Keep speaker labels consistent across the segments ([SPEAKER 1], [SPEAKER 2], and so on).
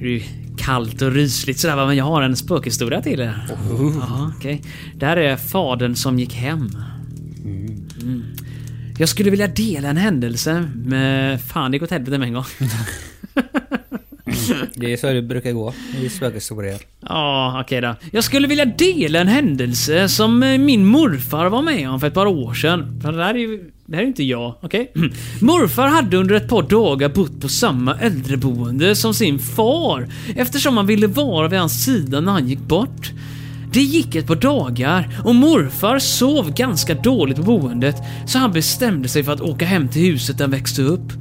[SPEAKER 1] Det är ju kallt och rysligt sådär va, men jag har en spökhistoria till er.
[SPEAKER 2] Mm.
[SPEAKER 1] Ja, okej. Det här är fadern som gick hem. Mm. Jag skulle vilja dela en händelse med... Fan, det gick åt helvete med en gång.
[SPEAKER 3] Det är så det brukar gå i spökhistorier.
[SPEAKER 1] Ja, okej då. Jag skulle vilja dela en händelse som eh, min morfar var med om för ett par år sedan. För det här är ju... Det här är ju inte jag, okej? Morfar hade under ett par dagar bott på samma äldreboende som sin far eftersom han ville vara vid hans sida när han gick bort. Det gick ett par dagar och morfar sov ganska dåligt på boendet så han bestämde sig för att åka hem till huset där han växte upp.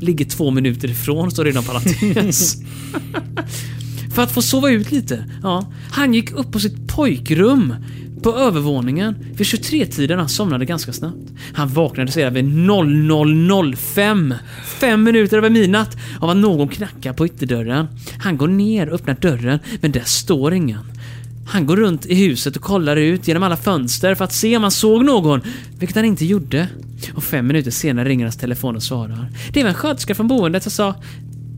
[SPEAKER 1] Ligger två minuter ifrån, står det inom parentes. För att få sova ut lite. Ja. Han gick upp på sitt pojkrum på övervåningen. Vid 23-tiden han somnade ganska snabbt. Han vaknade sedan vid 00.05. Fem minuter över midnatt av att någon knackar på ytterdörren. Han går ner och öppnar dörren, men där står ingen. Han går runt i huset och kollar ut genom alla fönster för att se om han såg någon, vilket han inte gjorde. Och fem minuter senare ringer hans telefon och svarar. Det var en sköterska från boendet som sa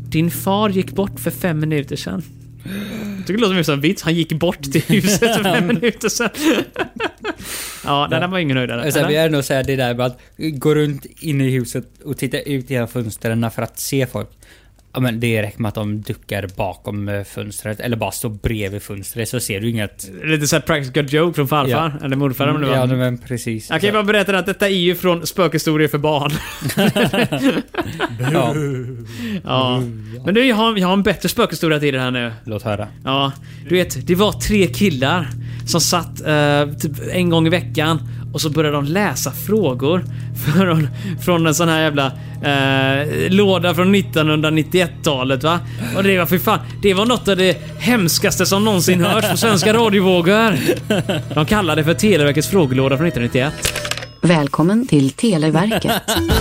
[SPEAKER 1] din far gick bort för fem minuter sedan. Jag tycker det låter mer som en vits. Han gick bort till huset för fem minuter sedan. ja, den där var ingen höjdare.
[SPEAKER 3] Alltså, jag vill ändå säga det där med att gå runt inne i huset och titta ut genom fönstren för att se folk. Ja, men det räcker med att de duckar bakom eh, fönstret eller bara står bredvid fönstret så ser du inget.
[SPEAKER 1] Lite såhär practical joke från farfar. Eller morfar om det var.
[SPEAKER 3] Ja, men precis.
[SPEAKER 1] Jag kan ju bara berätta att detta är ju från spökhistorier för barn.
[SPEAKER 3] ja,
[SPEAKER 1] ja. Men du, jag har, jag har en bättre spökhistoria till det här nu.
[SPEAKER 3] låt höra.
[SPEAKER 1] Ja, du vet, det var tre killar som satt eh, typ en gång i veckan och så började de läsa frågor från, från en sån här jävla eh, låda från 1991-talet va. Och det var för fan, det var något av det hemskaste som någonsin hörts på svenska radiovågor. De kallade det för Televerkets frågelåda från 1991.
[SPEAKER 4] Välkommen till Televerket.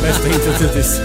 [SPEAKER 2] Bästa hittills hittills.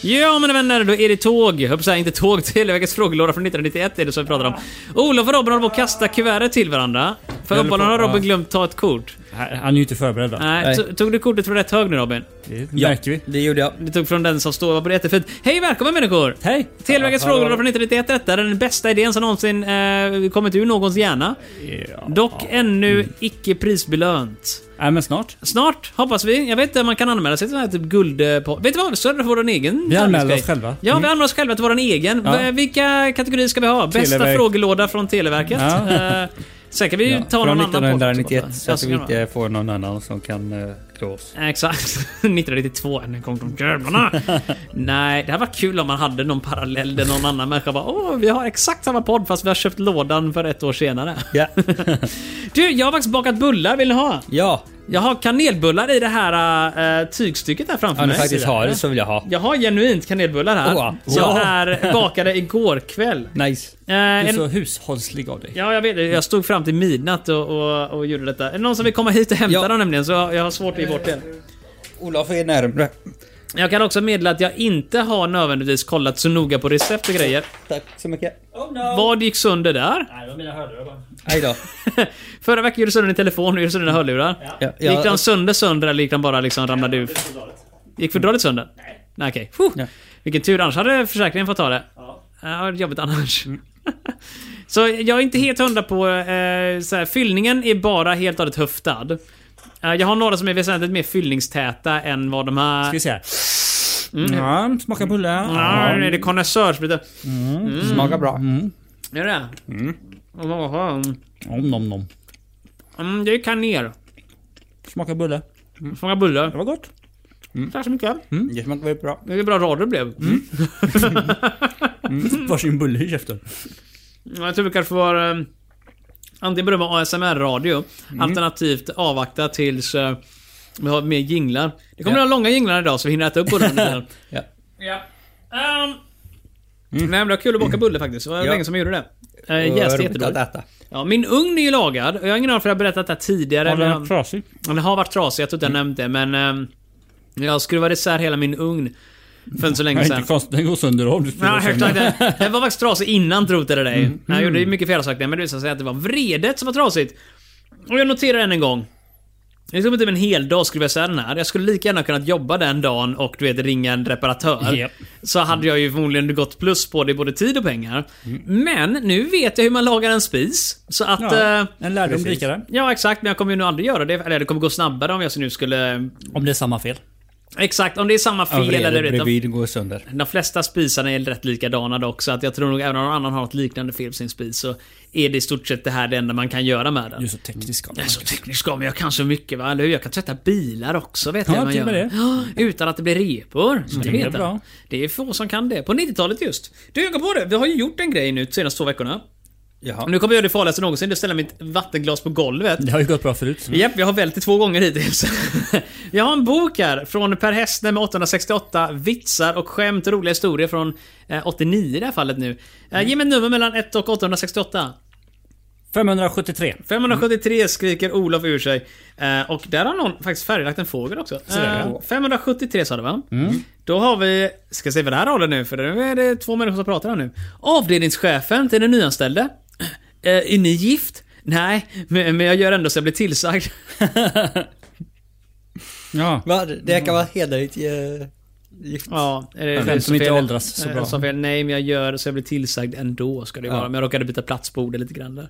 [SPEAKER 1] Ja mina vänner, då är det tåg. Jag höll på att säga, inte tåg, Televerkets frågelåda från 1991 är det som vi pratar om. Olof och Robin håller på att kasta kuvertet till varandra. För
[SPEAKER 2] håller
[SPEAKER 1] uppenbarligen har
[SPEAKER 2] på-
[SPEAKER 1] Robin
[SPEAKER 2] ja.
[SPEAKER 1] glömt ta ett kort.
[SPEAKER 2] Han är ju inte förberedd va?
[SPEAKER 1] Nej,
[SPEAKER 3] Nej.
[SPEAKER 1] to- Tog du kortet från rätt hög nu Robin?
[SPEAKER 2] Det
[SPEAKER 3] Ja,
[SPEAKER 2] märker vi.
[SPEAKER 3] Det gjorde jag.
[SPEAKER 1] Du tog från den som står på det jättefint. Hej välkommen människor!
[SPEAKER 2] Hej!
[SPEAKER 1] Televerkets
[SPEAKER 3] Ja, hallå.
[SPEAKER 1] frågelåda från 1991 detta är den bästa idén som någonsin eh, kommit ur någons hjärna. Dock ännu icke prisbelönt.
[SPEAKER 2] Nej men snart.
[SPEAKER 1] Snart, hoppas vi. Jag vet inte, man kan anmäla sig till den här typ guld... eh, på- Vet du vad? Så är det vår egen
[SPEAKER 2] Vi anmäler
[SPEAKER 1] tävlingsgrej.
[SPEAKER 2] oss själva. Mm.
[SPEAKER 1] Ja, vi anmäler oss själva till vår egen.
[SPEAKER 2] Ja.
[SPEAKER 1] V- Vilka kategorier ska vi ha? Bästa
[SPEAKER 2] Televerk.
[SPEAKER 1] frågelåda från Televerket.
[SPEAKER 2] Ja.
[SPEAKER 1] Eh, Sen kan vi ju
[SPEAKER 3] Ja,
[SPEAKER 1] ta
[SPEAKER 3] från
[SPEAKER 1] någon annan podd.
[SPEAKER 3] 1991 så
[SPEAKER 1] Ja,
[SPEAKER 3] att vi
[SPEAKER 1] kan
[SPEAKER 3] inte får någon annan som kan eh, klå oss.
[SPEAKER 1] Exakt. 1992, när den kom från Germana. Nej, det här var kul om man hade någon parallell där någon annan människa bara Åh, vi har exakt samma podd fast vi har köpt lådan för ett år senare.
[SPEAKER 3] Ja.
[SPEAKER 1] Du, jag har faktiskt bakat bullar, vill ni ha?
[SPEAKER 3] ja,
[SPEAKER 1] Jag har kanelbullar i det här äh, tygstycket här framför
[SPEAKER 3] om du
[SPEAKER 1] mig.
[SPEAKER 3] faktiskt har det så vill jag ha.
[SPEAKER 1] Jag har genuint kanelbullar här.
[SPEAKER 3] Åh,
[SPEAKER 1] Som
[SPEAKER 3] wow.
[SPEAKER 1] är bakade igår kväll.
[SPEAKER 3] Nice.
[SPEAKER 1] Eh,
[SPEAKER 2] Du är
[SPEAKER 1] en,
[SPEAKER 2] så hushållslig av dig.
[SPEAKER 1] ja, jag vet det. Jag stod fram till midnatt och, och, och gjorde detta. Är det någon som vill komma hit och hämta
[SPEAKER 3] Ja.
[SPEAKER 1] dem nämligen? Så jag jag har svårt att ge bort det.
[SPEAKER 3] Olof är närmre.
[SPEAKER 1] Jag kan också meddela att jag inte har nödvändigtvis kollat så noga på recept och grejer.
[SPEAKER 3] Tack så mycket.
[SPEAKER 1] Vad gick sönder där?
[SPEAKER 3] Hej då.
[SPEAKER 1] Förra veckan gjorde sönder din telefon, nu gjorde sönder dina hörlurar.
[SPEAKER 3] Ja,
[SPEAKER 1] Gick de
[SPEAKER 3] ja,
[SPEAKER 1] sönder sönder eller gick de bara liksom ramlade ur? Gick fodralet sönder? Nej. Nej okej. Puh.
[SPEAKER 3] Ja.
[SPEAKER 1] Vilken tur, annars hade försäkringen fått ta det. Ja. det var jobbigt annars.
[SPEAKER 2] Mm.
[SPEAKER 1] så jag är inte helt hundra på... Eh, så här, fyllningen är bara helt och hållet höftad. Eh, jag har några som är väsentligt mer fyllningstäta än vad de här...
[SPEAKER 2] Ska vi se Mm. här. Mm. Ja, smaka bullar.
[SPEAKER 1] Ah,
[SPEAKER 2] Ja.
[SPEAKER 1] nej, det är konnässörspriten.
[SPEAKER 2] Mm.
[SPEAKER 3] Mm. smakar bra.
[SPEAKER 1] Är det? Jaha.
[SPEAKER 2] Om nom nom.
[SPEAKER 1] Mm, det är kanel.
[SPEAKER 2] Smaka bulle.
[SPEAKER 1] Smakar bullar.
[SPEAKER 2] Det var gott. Mm.
[SPEAKER 1] Tack så mycket.
[SPEAKER 3] Det smakar väldigt bra.
[SPEAKER 1] Vilken bra radio det blev.
[SPEAKER 2] Varsin bulle i käften.
[SPEAKER 1] Mm, Jag tror vi kanske får eh, antingen börja med ASMR-radio
[SPEAKER 3] Mm.
[SPEAKER 1] alternativt avvakta tills eh, vi har mer jinglar. Det kommer
[SPEAKER 3] Ja.
[SPEAKER 1] att ha långa jinglar idag så vi hinner äta upp bullarna under tiden.
[SPEAKER 3] Ja. Mm.
[SPEAKER 1] Ja. Ehm, Nej men det var kul att baka bulle faktiskt. Det var
[SPEAKER 3] Ja.
[SPEAKER 1] länge som jag gjorde det. Eh,
[SPEAKER 3] Och
[SPEAKER 1] Jäst är
[SPEAKER 3] roligt att
[SPEAKER 1] jättedåligt.
[SPEAKER 3] äta.
[SPEAKER 1] Ja, min ugn är ju lagad. och Jag har ingen aning om jag har berättat det här tidigare.
[SPEAKER 2] Har den
[SPEAKER 1] men-
[SPEAKER 2] varit trasig?
[SPEAKER 1] Ja, Den har varit trasig, jag tror inte jag nämnt
[SPEAKER 3] Mm.
[SPEAKER 1] det, men... ehm, jag skruvade isär hela min ugn för inte så
[SPEAKER 2] Nej,
[SPEAKER 1] länge
[SPEAKER 2] inte
[SPEAKER 1] sedan.
[SPEAKER 2] konstigt. Den går sönder om du
[SPEAKER 1] Ja,
[SPEAKER 2] spelar Mm.
[SPEAKER 1] högt
[SPEAKER 2] sönder.
[SPEAKER 1] inte. Den var faktiskt trasig innan trodde det dig. Jag gjorde ju mycket felsaker, men det visade sig att det var vredet som var trasigt. Och jag noterar än en gång. Det tog mig typ en hel dag att skruva isär den här. Jag skulle lika gärna kunnat jobba den dagen och du vet, ringa en reparatör.
[SPEAKER 3] Japp.
[SPEAKER 1] Så hade jag ju förmodligen gått plus på det i både tid och pengar.
[SPEAKER 2] Mm.
[SPEAKER 1] Men nu vet jag hur man lagar en spis. Så att... eh,
[SPEAKER 2] Ja, en lärdom
[SPEAKER 3] Precis.
[SPEAKER 2] rikare.
[SPEAKER 1] Ja, exakt. Men jag kommer ju nu aldrig göra det. Eller det kommer gå snabbare om jag så nu skulle...
[SPEAKER 3] Om det är samma fel.
[SPEAKER 1] Exakt, om det är samma fel eller... du vet, de-
[SPEAKER 3] bredvid går sönder.
[SPEAKER 1] De flesta spisarna är rätt likadana dock, så att jag tror nog även om någon annan har ett liknande fel på sin spis så är det i stort sett det här det enda man kan göra med den.
[SPEAKER 2] Du är så teknisk av
[SPEAKER 1] Jag
[SPEAKER 2] mig.
[SPEAKER 1] är så teknisk av mig, jag kan så mycket va, eller hur? Jag kan tvätta bilar också vet
[SPEAKER 2] Ja,
[SPEAKER 1] jag hur man
[SPEAKER 2] till och
[SPEAKER 1] gör.
[SPEAKER 2] med Mm,
[SPEAKER 1] Ja, Utan att det blir repor. Så det
[SPEAKER 2] det är
[SPEAKER 1] vet jag.
[SPEAKER 2] bra.
[SPEAKER 1] Det är få som kan det. På 90-talet just. Du, jag kom på det. Vi har ju gjort en grej nu de senaste två veckorna.
[SPEAKER 3] Jaha.
[SPEAKER 1] Nu kommer jag göra det farligaste någonsin, det är att ställa mitt vattenglas på golvet.
[SPEAKER 2] Det har ju gått bra förut.
[SPEAKER 1] Japp, jag har vält det två gånger hittills. jag har en bok här från Per Hessner med 868 vitsar och skämt och roliga historier från eh, 89 i det här fallet nu. Eh, Ge mig ett nummer mellan 1 och 868.
[SPEAKER 2] 573.
[SPEAKER 1] 573 skriker Olof ur sig. Eh, Och där har någon faktiskt färglagt en fågel också.
[SPEAKER 2] där,
[SPEAKER 1] Eh, 573 sa du va? Då har vi, ska se vad det här håller nu för nu är det två människor som pratar här nu. Avdelningschefen till den nyanställde. Eh, Är ni gift? Nej, men men jag gör ändå så jag blir tillsagd.
[SPEAKER 2] Ja.
[SPEAKER 3] Va? Det kan vara hederligt eh, gift.
[SPEAKER 1] Ja, är det
[SPEAKER 3] Skämt
[SPEAKER 1] det
[SPEAKER 3] som inte
[SPEAKER 1] fel?
[SPEAKER 3] åldras så
[SPEAKER 1] Eh,
[SPEAKER 3] bra.
[SPEAKER 1] Som fel, nej men jag gör så jag blir tillsagd ändå ska det ju
[SPEAKER 3] Ja.
[SPEAKER 1] vara. Men jag råkade byta plats på ordet lite grann där.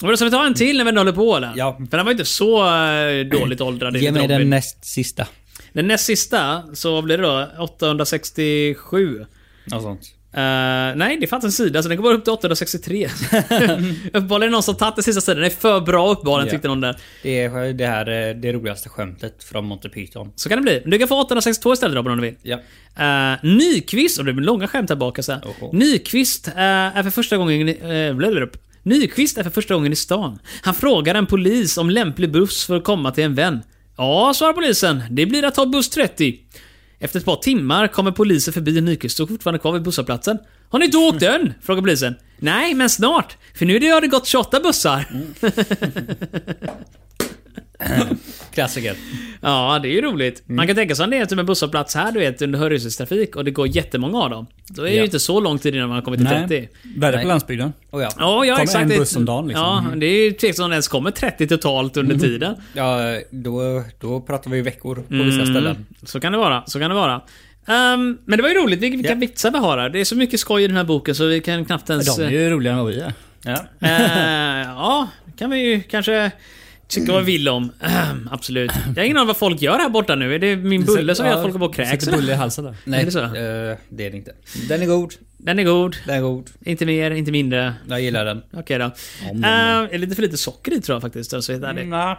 [SPEAKER 1] Men då ska vi ta en till när vi ändå håller på eller?
[SPEAKER 3] Ja.
[SPEAKER 1] För den var ju inte så eh, dåligt åldrad. det är
[SPEAKER 3] Ge
[SPEAKER 1] lite
[SPEAKER 3] mig
[SPEAKER 1] jobbigt.
[SPEAKER 3] den näst sista.
[SPEAKER 1] den näst sista, så vad blir det då? 867.
[SPEAKER 3] Något sånt.
[SPEAKER 1] Eh, nej, det fanns en sida, så den går bara upp till 863. uppenbarligen är det någon som tagit den sista sidan. Den är för bra uppenbarligen,
[SPEAKER 3] Ja.
[SPEAKER 1] tyckte någon där.
[SPEAKER 3] Det är det här eh, det roligaste skämtet från Monty Python.
[SPEAKER 1] Så kan det bli. Men Du kan få 862 istället Robin om du vill.
[SPEAKER 3] Ja.
[SPEAKER 1] Uh, Nyqvist, och det blir långa skämt här bak så här.
[SPEAKER 3] Oho.
[SPEAKER 1] Nyqvist eh, är för första gången i, eh, blablabla. Nyqvist är för första gången i stan. Han frågar en polis om lämplig buss för att komma till en vän. Ja, svarar polisen. Det blir att ta buss 30. Efter ett par timmar kommer polisen förbi Nyqvist och fortfarande kvar vid busshållplatsen. Har ni inte åkt än? Frågar polisen. Nej, men snart. För nu är det- har det gått 28 bussar.
[SPEAKER 3] Klassiker.
[SPEAKER 1] Ja, det är ju roligt. Man
[SPEAKER 2] Mm.
[SPEAKER 1] kan tänka sig om det är typ en busshållplats här du vet under Hörjusdalstrafik och det går jättemånga av dem. Då är det ju
[SPEAKER 3] Ja.
[SPEAKER 1] inte så lång tid innan man har kommit till 30.
[SPEAKER 2] Värre
[SPEAKER 3] Nej.
[SPEAKER 2] på landsbygden.
[SPEAKER 3] Oh, ja.
[SPEAKER 1] Ja, ja
[SPEAKER 2] Kommer
[SPEAKER 1] exakt.
[SPEAKER 2] en
[SPEAKER 1] Det-
[SPEAKER 2] buss om dagen, liksom. Mm.
[SPEAKER 1] Ja, det är ju tveksamt om det ens kommer 30 totalt under tiden.
[SPEAKER 3] ja då, då pratar vi veckor på vissa ställen.
[SPEAKER 1] Mm. Så kan det vara. Så kan det vara. Ehm, men det var ju roligt vilka, vilka
[SPEAKER 3] Ja.
[SPEAKER 1] vitsar vi har här. Det är så mycket skoj i den här boken så vi kan knappt ens...
[SPEAKER 2] De är ju roligare än vad vi är.
[SPEAKER 3] Ja.
[SPEAKER 1] Eh, ja, kan vi ju kanske tycka vad vi vill om. Ehm, absolut. Jag har ingen aning vad folk gör här borta nu. Är det min bulle som gör att folk går på och kräks?
[SPEAKER 2] Sätter bulle i
[SPEAKER 1] eller?
[SPEAKER 2] halsen där.
[SPEAKER 3] Nej,
[SPEAKER 1] Är det så?
[SPEAKER 3] eh, det är det inte. Den är god.
[SPEAKER 1] Den är god.
[SPEAKER 3] Den är god.
[SPEAKER 1] Inte mer, inte mindre.
[SPEAKER 3] Jag gillar den.
[SPEAKER 1] Okej då.
[SPEAKER 2] om, om.
[SPEAKER 1] Eh, det är lite för lite socker i tror jag faktiskt. Alltså, helt ärligt.
[SPEAKER 3] Mm,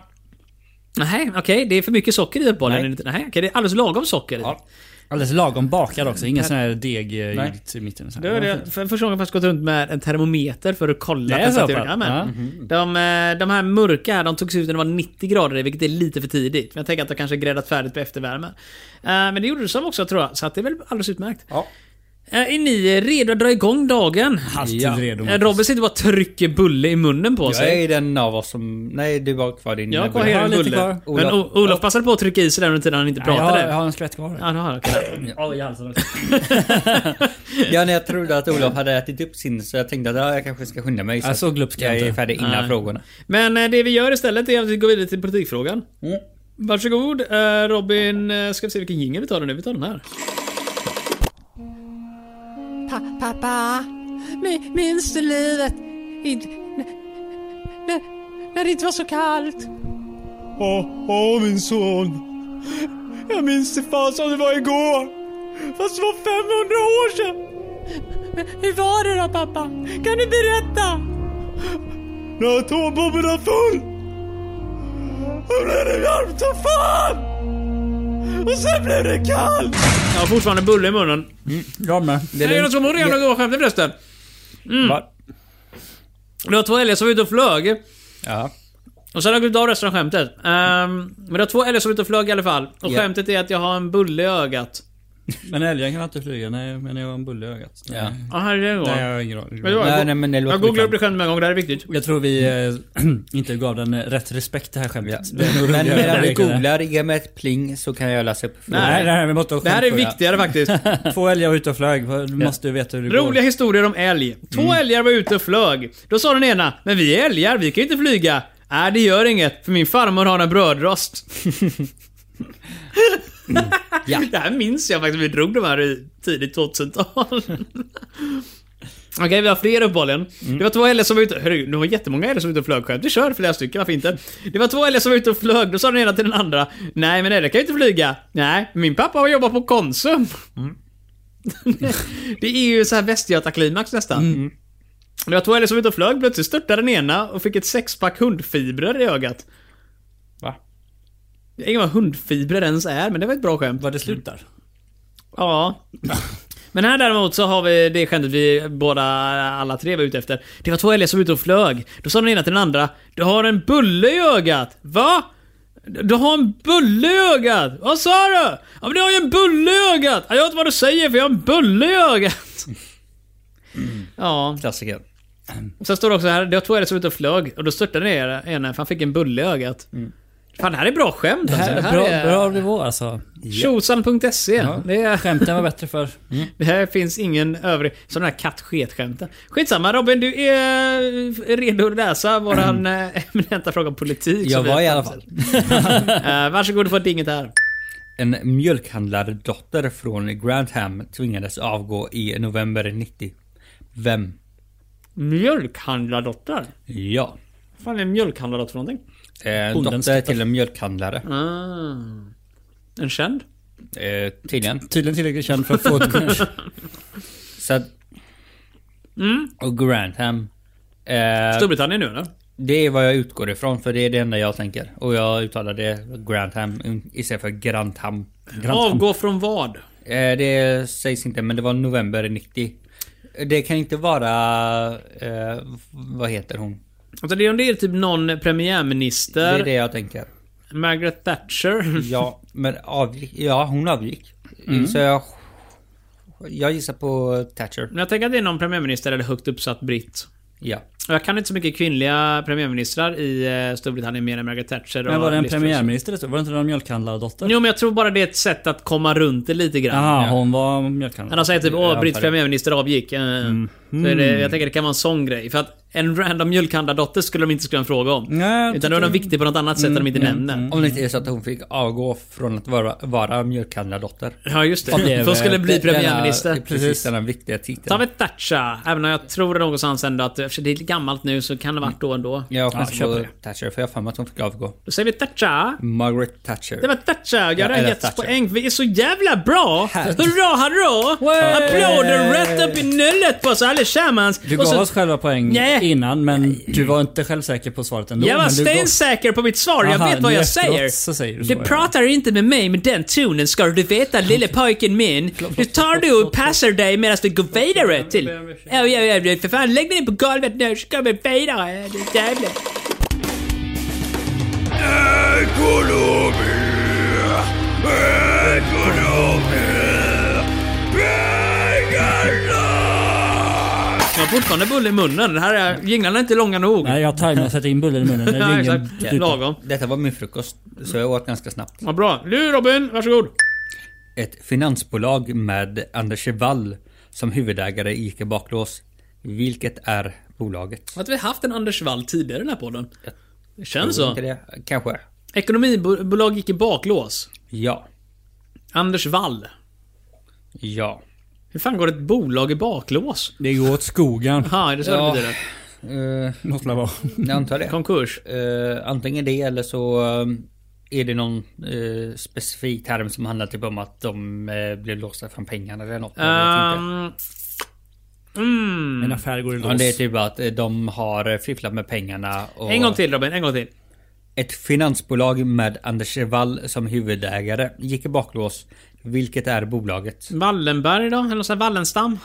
[SPEAKER 1] Nej, okej. det är för mycket socker i uppenbarligen. Nej,
[SPEAKER 3] Nej.
[SPEAKER 1] Nej okej, det är alldeles lagom socker.
[SPEAKER 3] Ja.
[SPEAKER 2] Alldeles lagom bakad också. Ingen sån här deg eh,
[SPEAKER 3] Nej.
[SPEAKER 2] gjord i mitten. Så här.
[SPEAKER 1] Det var det. För första gången har jag gått runt med en termometer för att kolla
[SPEAKER 2] Det är så
[SPEAKER 1] temperaturen.
[SPEAKER 2] pass?
[SPEAKER 1] Jajamän.
[SPEAKER 2] Ja.
[SPEAKER 1] De, eh, de här mörka här, de togs ut när det var 90 grader i, vilket är lite för tidigt. Men jag tänker att de kanske gräddat färdigt på eftervärme. Eh, Men det gjorde du som också tror jag, så att det är väl alldeles utmärkt.
[SPEAKER 3] Ja.
[SPEAKER 1] Eh, Är ni redo att dra igång dagen?
[SPEAKER 2] Alltid
[SPEAKER 3] Ja.
[SPEAKER 2] redo.
[SPEAKER 1] Eh, Robin sitter bara och trycker bulle i munnen på
[SPEAKER 3] Jag
[SPEAKER 1] sig.
[SPEAKER 3] är den av oss som... Nej, du var kvar din...
[SPEAKER 1] Jag har kvar
[SPEAKER 3] bulle.
[SPEAKER 1] hela
[SPEAKER 2] lite
[SPEAKER 1] bulle.
[SPEAKER 2] kvar.
[SPEAKER 1] Men O-
[SPEAKER 3] Olof.
[SPEAKER 1] Olof passade på att trycka i sig den under tiden han inte
[SPEAKER 2] jag, har,
[SPEAKER 1] pratade.
[SPEAKER 2] jag har en skvätt kvar.
[SPEAKER 1] Ja, det har jag. okej.
[SPEAKER 2] Ja, i halsen.
[SPEAKER 3] Ja, när jag trodde att Olof hade ätit upp sin så jag tänkte att ja, jag kanske ska skynda mig.
[SPEAKER 2] Ja, så glupsk är jag
[SPEAKER 3] jag är
[SPEAKER 2] inte.
[SPEAKER 3] färdig innan
[SPEAKER 1] Nej.
[SPEAKER 3] frågorna.
[SPEAKER 1] Men eh, det vi gör istället är att vi går vidare till politikfrågan.
[SPEAKER 3] Mm.
[SPEAKER 1] Varsågod eh, Robin, eh, ska vi se vilken jingel vi tar nu? Vi tar den här.
[SPEAKER 5] Pa pappa, mi- minns du livet? Inte, när, när det inte var så kallt?
[SPEAKER 6] Åh, åh min son. Jag minns det fan som det var igår. Fast det var 500 år sedan.
[SPEAKER 5] Hur var det då pappa? Kan du berätta?
[SPEAKER 6] När atombomben var full. Då blev det varmt som fan. Och sen blev det kallt.
[SPEAKER 1] Jag har fortfarande bulle i munnen.
[SPEAKER 2] Jag med.
[SPEAKER 1] Det är något som hon redan har skämtat förresten.
[SPEAKER 2] Va?
[SPEAKER 1] Det var två älgar som var ute och flög.
[SPEAKER 3] Ja.
[SPEAKER 1] Och sen har jag glömt av resten av skämtet. Ehm, men det var två älgar som var ute och flög i alla fall. Och
[SPEAKER 3] Ja.
[SPEAKER 1] skämtet är att jag har en bulle i ögat.
[SPEAKER 2] Men älgar kan inte flyga, nej, men jag har en bulle i ögat. Nej.
[SPEAKER 3] Ja.
[SPEAKER 1] Ja, här är det
[SPEAKER 2] Nej, jag
[SPEAKER 1] då.
[SPEAKER 2] har ingen aning.
[SPEAKER 1] Vet du vad?
[SPEAKER 3] Nej,
[SPEAKER 1] Jag
[SPEAKER 3] nej, men det låter
[SPEAKER 1] Jag googlar upp det
[SPEAKER 3] bekant.
[SPEAKER 1] själv med en gång, det här är viktigt.
[SPEAKER 2] Jag tror vi eh, inte gav den eh, rätt respekt det här
[SPEAKER 3] Ja.
[SPEAKER 2] skämtet. Det är nog
[SPEAKER 3] Men
[SPEAKER 2] roligare
[SPEAKER 3] medan
[SPEAKER 2] att
[SPEAKER 3] du
[SPEAKER 2] leka det.
[SPEAKER 3] googlar, ge mig ett pling så kan jag läsa upp frågan.
[SPEAKER 2] Nej, det här vi måste ha
[SPEAKER 1] Det här är
[SPEAKER 2] skämt på, ja.
[SPEAKER 1] viktigare faktiskt.
[SPEAKER 2] Två älgar ute och flög. Du måste ju veta hur det Mm.
[SPEAKER 1] Roliga historier om älg. Två älgar var ute och flög. Då sa den ena, men vi är älgar, vi kan ju inte flyga. Nej, det gör inget, för min farmor har en brödrost.
[SPEAKER 2] Mm.
[SPEAKER 3] Ja.
[SPEAKER 1] Det här minns jag faktiskt, vi drog de här i tidigt 2000-tal. Okej, vi har fler uppehållen.
[SPEAKER 2] Mm.
[SPEAKER 1] Det var två älgar som var ute... Herregud, det var jättemånga älgar som var ute och flög. Skämt, vi kör flera stycken, varför inte? Det var två älgar som var ute och flög, då sa den ena till den andra. Nej, men älgar kan ju inte flyga. Nej, min pappa har jobbat på Konsum. det är ju så här Västgötaklimax nästan. Det var två älgar som var ute och flög, plötsligt störtade den ena och fick ett sexpack hundfibrer i ögat.
[SPEAKER 3] Va?
[SPEAKER 1] Jag vet inte vad hundfibrer ens är, men det var ett bra skämt.
[SPEAKER 2] Var det slutar?
[SPEAKER 1] Ja. Men här däremot så har vi det skämtet vi båda, alla tre var ute efter. Det var två älgar som var ute och flög. Då sa den ena till den andra. Du har en bulle i ögat. Va? Du har en bulle i ögat. Vad sa du? Ja men du har ju en bulle i ögat. Ja, Jag vet inte vad du säger för jag har en bulle i ögat. Mm. Ja.
[SPEAKER 3] Klassiker.
[SPEAKER 1] Sen står det också här. Det var två älgar som var ute och flög. Och då störtade den ena för han fick en bulle i ögat. Fan det här är bra skämt alltså. Mm. Det här
[SPEAKER 2] bra,
[SPEAKER 1] är...
[SPEAKER 2] bra nivå alltså.
[SPEAKER 1] Tjosan.se. E. Det är...
[SPEAKER 2] Skämten var bättre för.
[SPEAKER 1] Det här finns ingen övrig... Som den här kattsketskämten. Skitsamma Robin, du är eh, redo att läsa våran eh, eminenta fråga om politik.
[SPEAKER 3] Jag
[SPEAKER 1] som vi
[SPEAKER 3] var
[SPEAKER 1] har
[SPEAKER 3] i alla fall.
[SPEAKER 1] framställt. Eh, Varsågod du får dinget här.
[SPEAKER 3] En mjölkhandlardotter från Grantham tvingades avgå i november 90. Vem?
[SPEAKER 1] Mjölkhandlardotter?
[SPEAKER 3] Ja.
[SPEAKER 1] Vad fan är en mjölkhandlardotter för någonting?
[SPEAKER 3] Eh,
[SPEAKER 2] Bondens
[SPEAKER 3] dotter till en mjölkhandlare.
[SPEAKER 1] Ah. En känd?
[SPEAKER 3] Eh, tydligen.
[SPEAKER 2] Tydligen tillräckligt känd för att få ett kort.
[SPEAKER 3] Så att, Och Grantham. Eh,
[SPEAKER 1] Storbritannien nu eller?
[SPEAKER 3] det är vad jag utgår ifrån för det är det enda jag tänker. Och jag uttalar det Grantham un- istället för Grantham. Grantham.
[SPEAKER 1] Avgå från vad?
[SPEAKER 3] Eh, det sägs inte men det var november 90. Det kan inte vara... Eh, vad heter hon?
[SPEAKER 1] Alltså det är om det är typ någon
[SPEAKER 3] Det
[SPEAKER 1] premiärminister,
[SPEAKER 3] är det jag tänker.
[SPEAKER 1] Margaret Thatcher.
[SPEAKER 3] Ja, men avgick. Ja, hon avgick. Så jag... Jag gissar på Thatcher.
[SPEAKER 1] Men jag tänker att det är någon premiärminister eller högt uppsatt britt.
[SPEAKER 3] Ja.
[SPEAKER 1] Och Jag kan inte så mycket kvinnliga premiärministrar i eh, Storbritannien mer än Margaret Thatcher och
[SPEAKER 2] Men var det en
[SPEAKER 1] Liz Truss.
[SPEAKER 2] premiärminister? det stod? Var det inte någon mjölkhandlardotter?
[SPEAKER 1] Jo men jag tror bara det är ett sätt att komma runt det lite grann.
[SPEAKER 2] Jaha, hon var
[SPEAKER 1] Han har
[SPEAKER 2] mjölkhandlare.
[SPEAKER 1] sagt typ
[SPEAKER 3] Jag
[SPEAKER 1] åh,
[SPEAKER 3] antar
[SPEAKER 1] Britts
[SPEAKER 3] det.
[SPEAKER 1] premiärminister avgick. eh, Så är det, jag tänker det kan vara en sån grej. För att en random mjölkhandlardotter skulle de inte skriva en fråga om.
[SPEAKER 2] Nej,
[SPEAKER 1] Utan då är de viktig på något annat sätt än de inte nämner.
[SPEAKER 3] Om det inte är så att hon fick avgå från att vara, vara mjölkhandlardotter.
[SPEAKER 1] Ja just det.
[SPEAKER 3] Och det
[SPEAKER 1] För
[SPEAKER 3] är
[SPEAKER 1] hon skulle
[SPEAKER 3] väl
[SPEAKER 1] bli
[SPEAKER 3] denna-
[SPEAKER 1] premiärminister.
[SPEAKER 3] Precis, denna viktiga
[SPEAKER 1] Ta
[SPEAKER 3] titeln.
[SPEAKER 1] med Thatcher. Även om jag tror det någonstans ändå att eftersom det är lite gammalt nu så kan det ha varit då ändå.
[SPEAKER 3] Jag chansar
[SPEAKER 2] köper
[SPEAKER 3] på Thatcher för jag har för mig att hon fick avgå.
[SPEAKER 1] Då säger vi Thatcher.
[SPEAKER 3] Margaret Thatcher.
[SPEAKER 1] Det var Thatcher. Jag
[SPEAKER 3] Ja,
[SPEAKER 1] har
[SPEAKER 3] eller
[SPEAKER 1] redan getts
[SPEAKER 3] Thatcher.
[SPEAKER 1] poäng. Vi är så jävla bra! Hurra, hurra!
[SPEAKER 2] Way!
[SPEAKER 1] Applåder rätt upp i nyllet på oss allesammans!
[SPEAKER 2] Du
[SPEAKER 1] Och
[SPEAKER 2] gav
[SPEAKER 1] så-
[SPEAKER 2] oss själva poäng
[SPEAKER 1] Nej.
[SPEAKER 2] innan men du var inte självsäker på svaret ändå.
[SPEAKER 1] Jag var
[SPEAKER 2] men du gav-
[SPEAKER 1] stensäker på mitt svar. Jag
[SPEAKER 2] Aha,
[SPEAKER 1] vet vad
[SPEAKER 2] nu
[SPEAKER 1] jag
[SPEAKER 2] efteråt
[SPEAKER 1] säger.
[SPEAKER 2] så säger du så,
[SPEAKER 1] du
[SPEAKER 2] ja.
[SPEAKER 1] pratar inte med mig med den tonen ska du veta lille pojken min. Nu tar du och passar dig medan vi går vidare till... Ja, ja, ja, för fan lägg dig ner på golvet nu så går vi vidare. Det är jävligt. Jag har fortfarande bull i munnen. Det här är... Jinglarna är inte långa nog.
[SPEAKER 2] Nej, jag tajmade och sätter in bullen i munnen när
[SPEAKER 1] Ja,
[SPEAKER 2] ringen
[SPEAKER 1] exakt.
[SPEAKER 2] dyker upp.
[SPEAKER 1] Lagom.
[SPEAKER 3] Detta var min frukost, så jag åt ganska snabbt.
[SPEAKER 1] Vad bra. Du Robin, varsågod.
[SPEAKER 3] Ett finansbolag med Anders Wall som huvudägare gick i baklås. Vilket är bolaget?
[SPEAKER 1] Har inte vi haft en Anders Wall tidigare i den här podden? Det känns så.
[SPEAKER 3] Inte det? Kanske.
[SPEAKER 1] Ekonomibolag gick i baklås.
[SPEAKER 3] Ja.
[SPEAKER 1] Anders Wall.
[SPEAKER 3] Ja.
[SPEAKER 1] Hur fan går ett bolag i baklås?
[SPEAKER 2] Det går åt skogen.
[SPEAKER 1] Jaha, är det så
[SPEAKER 3] Ja.
[SPEAKER 1] det betyder?
[SPEAKER 3] Eh,
[SPEAKER 2] Något lär vara.
[SPEAKER 1] Mm.
[SPEAKER 3] jag antar det.
[SPEAKER 1] Konkurs.
[SPEAKER 3] Eh, antingen det eller så eh, är det någon eh, specifik term som handlar typ om att de eh, blev låsta från pengarna eller något. Jag vet inte.
[SPEAKER 1] Ehm... Mm.
[SPEAKER 2] En affär går i
[SPEAKER 3] Ja,
[SPEAKER 2] lås.
[SPEAKER 3] det är typ att eh, de har eh, fifflat med pengarna. Och
[SPEAKER 1] En gång till Robin, en gång till.
[SPEAKER 3] Ett finansbolag med Anders Wall som huvudägare gick i baklås. Vilket är bolaget?
[SPEAKER 1] Wallenberg då? Eller någon sån här Wallenstam?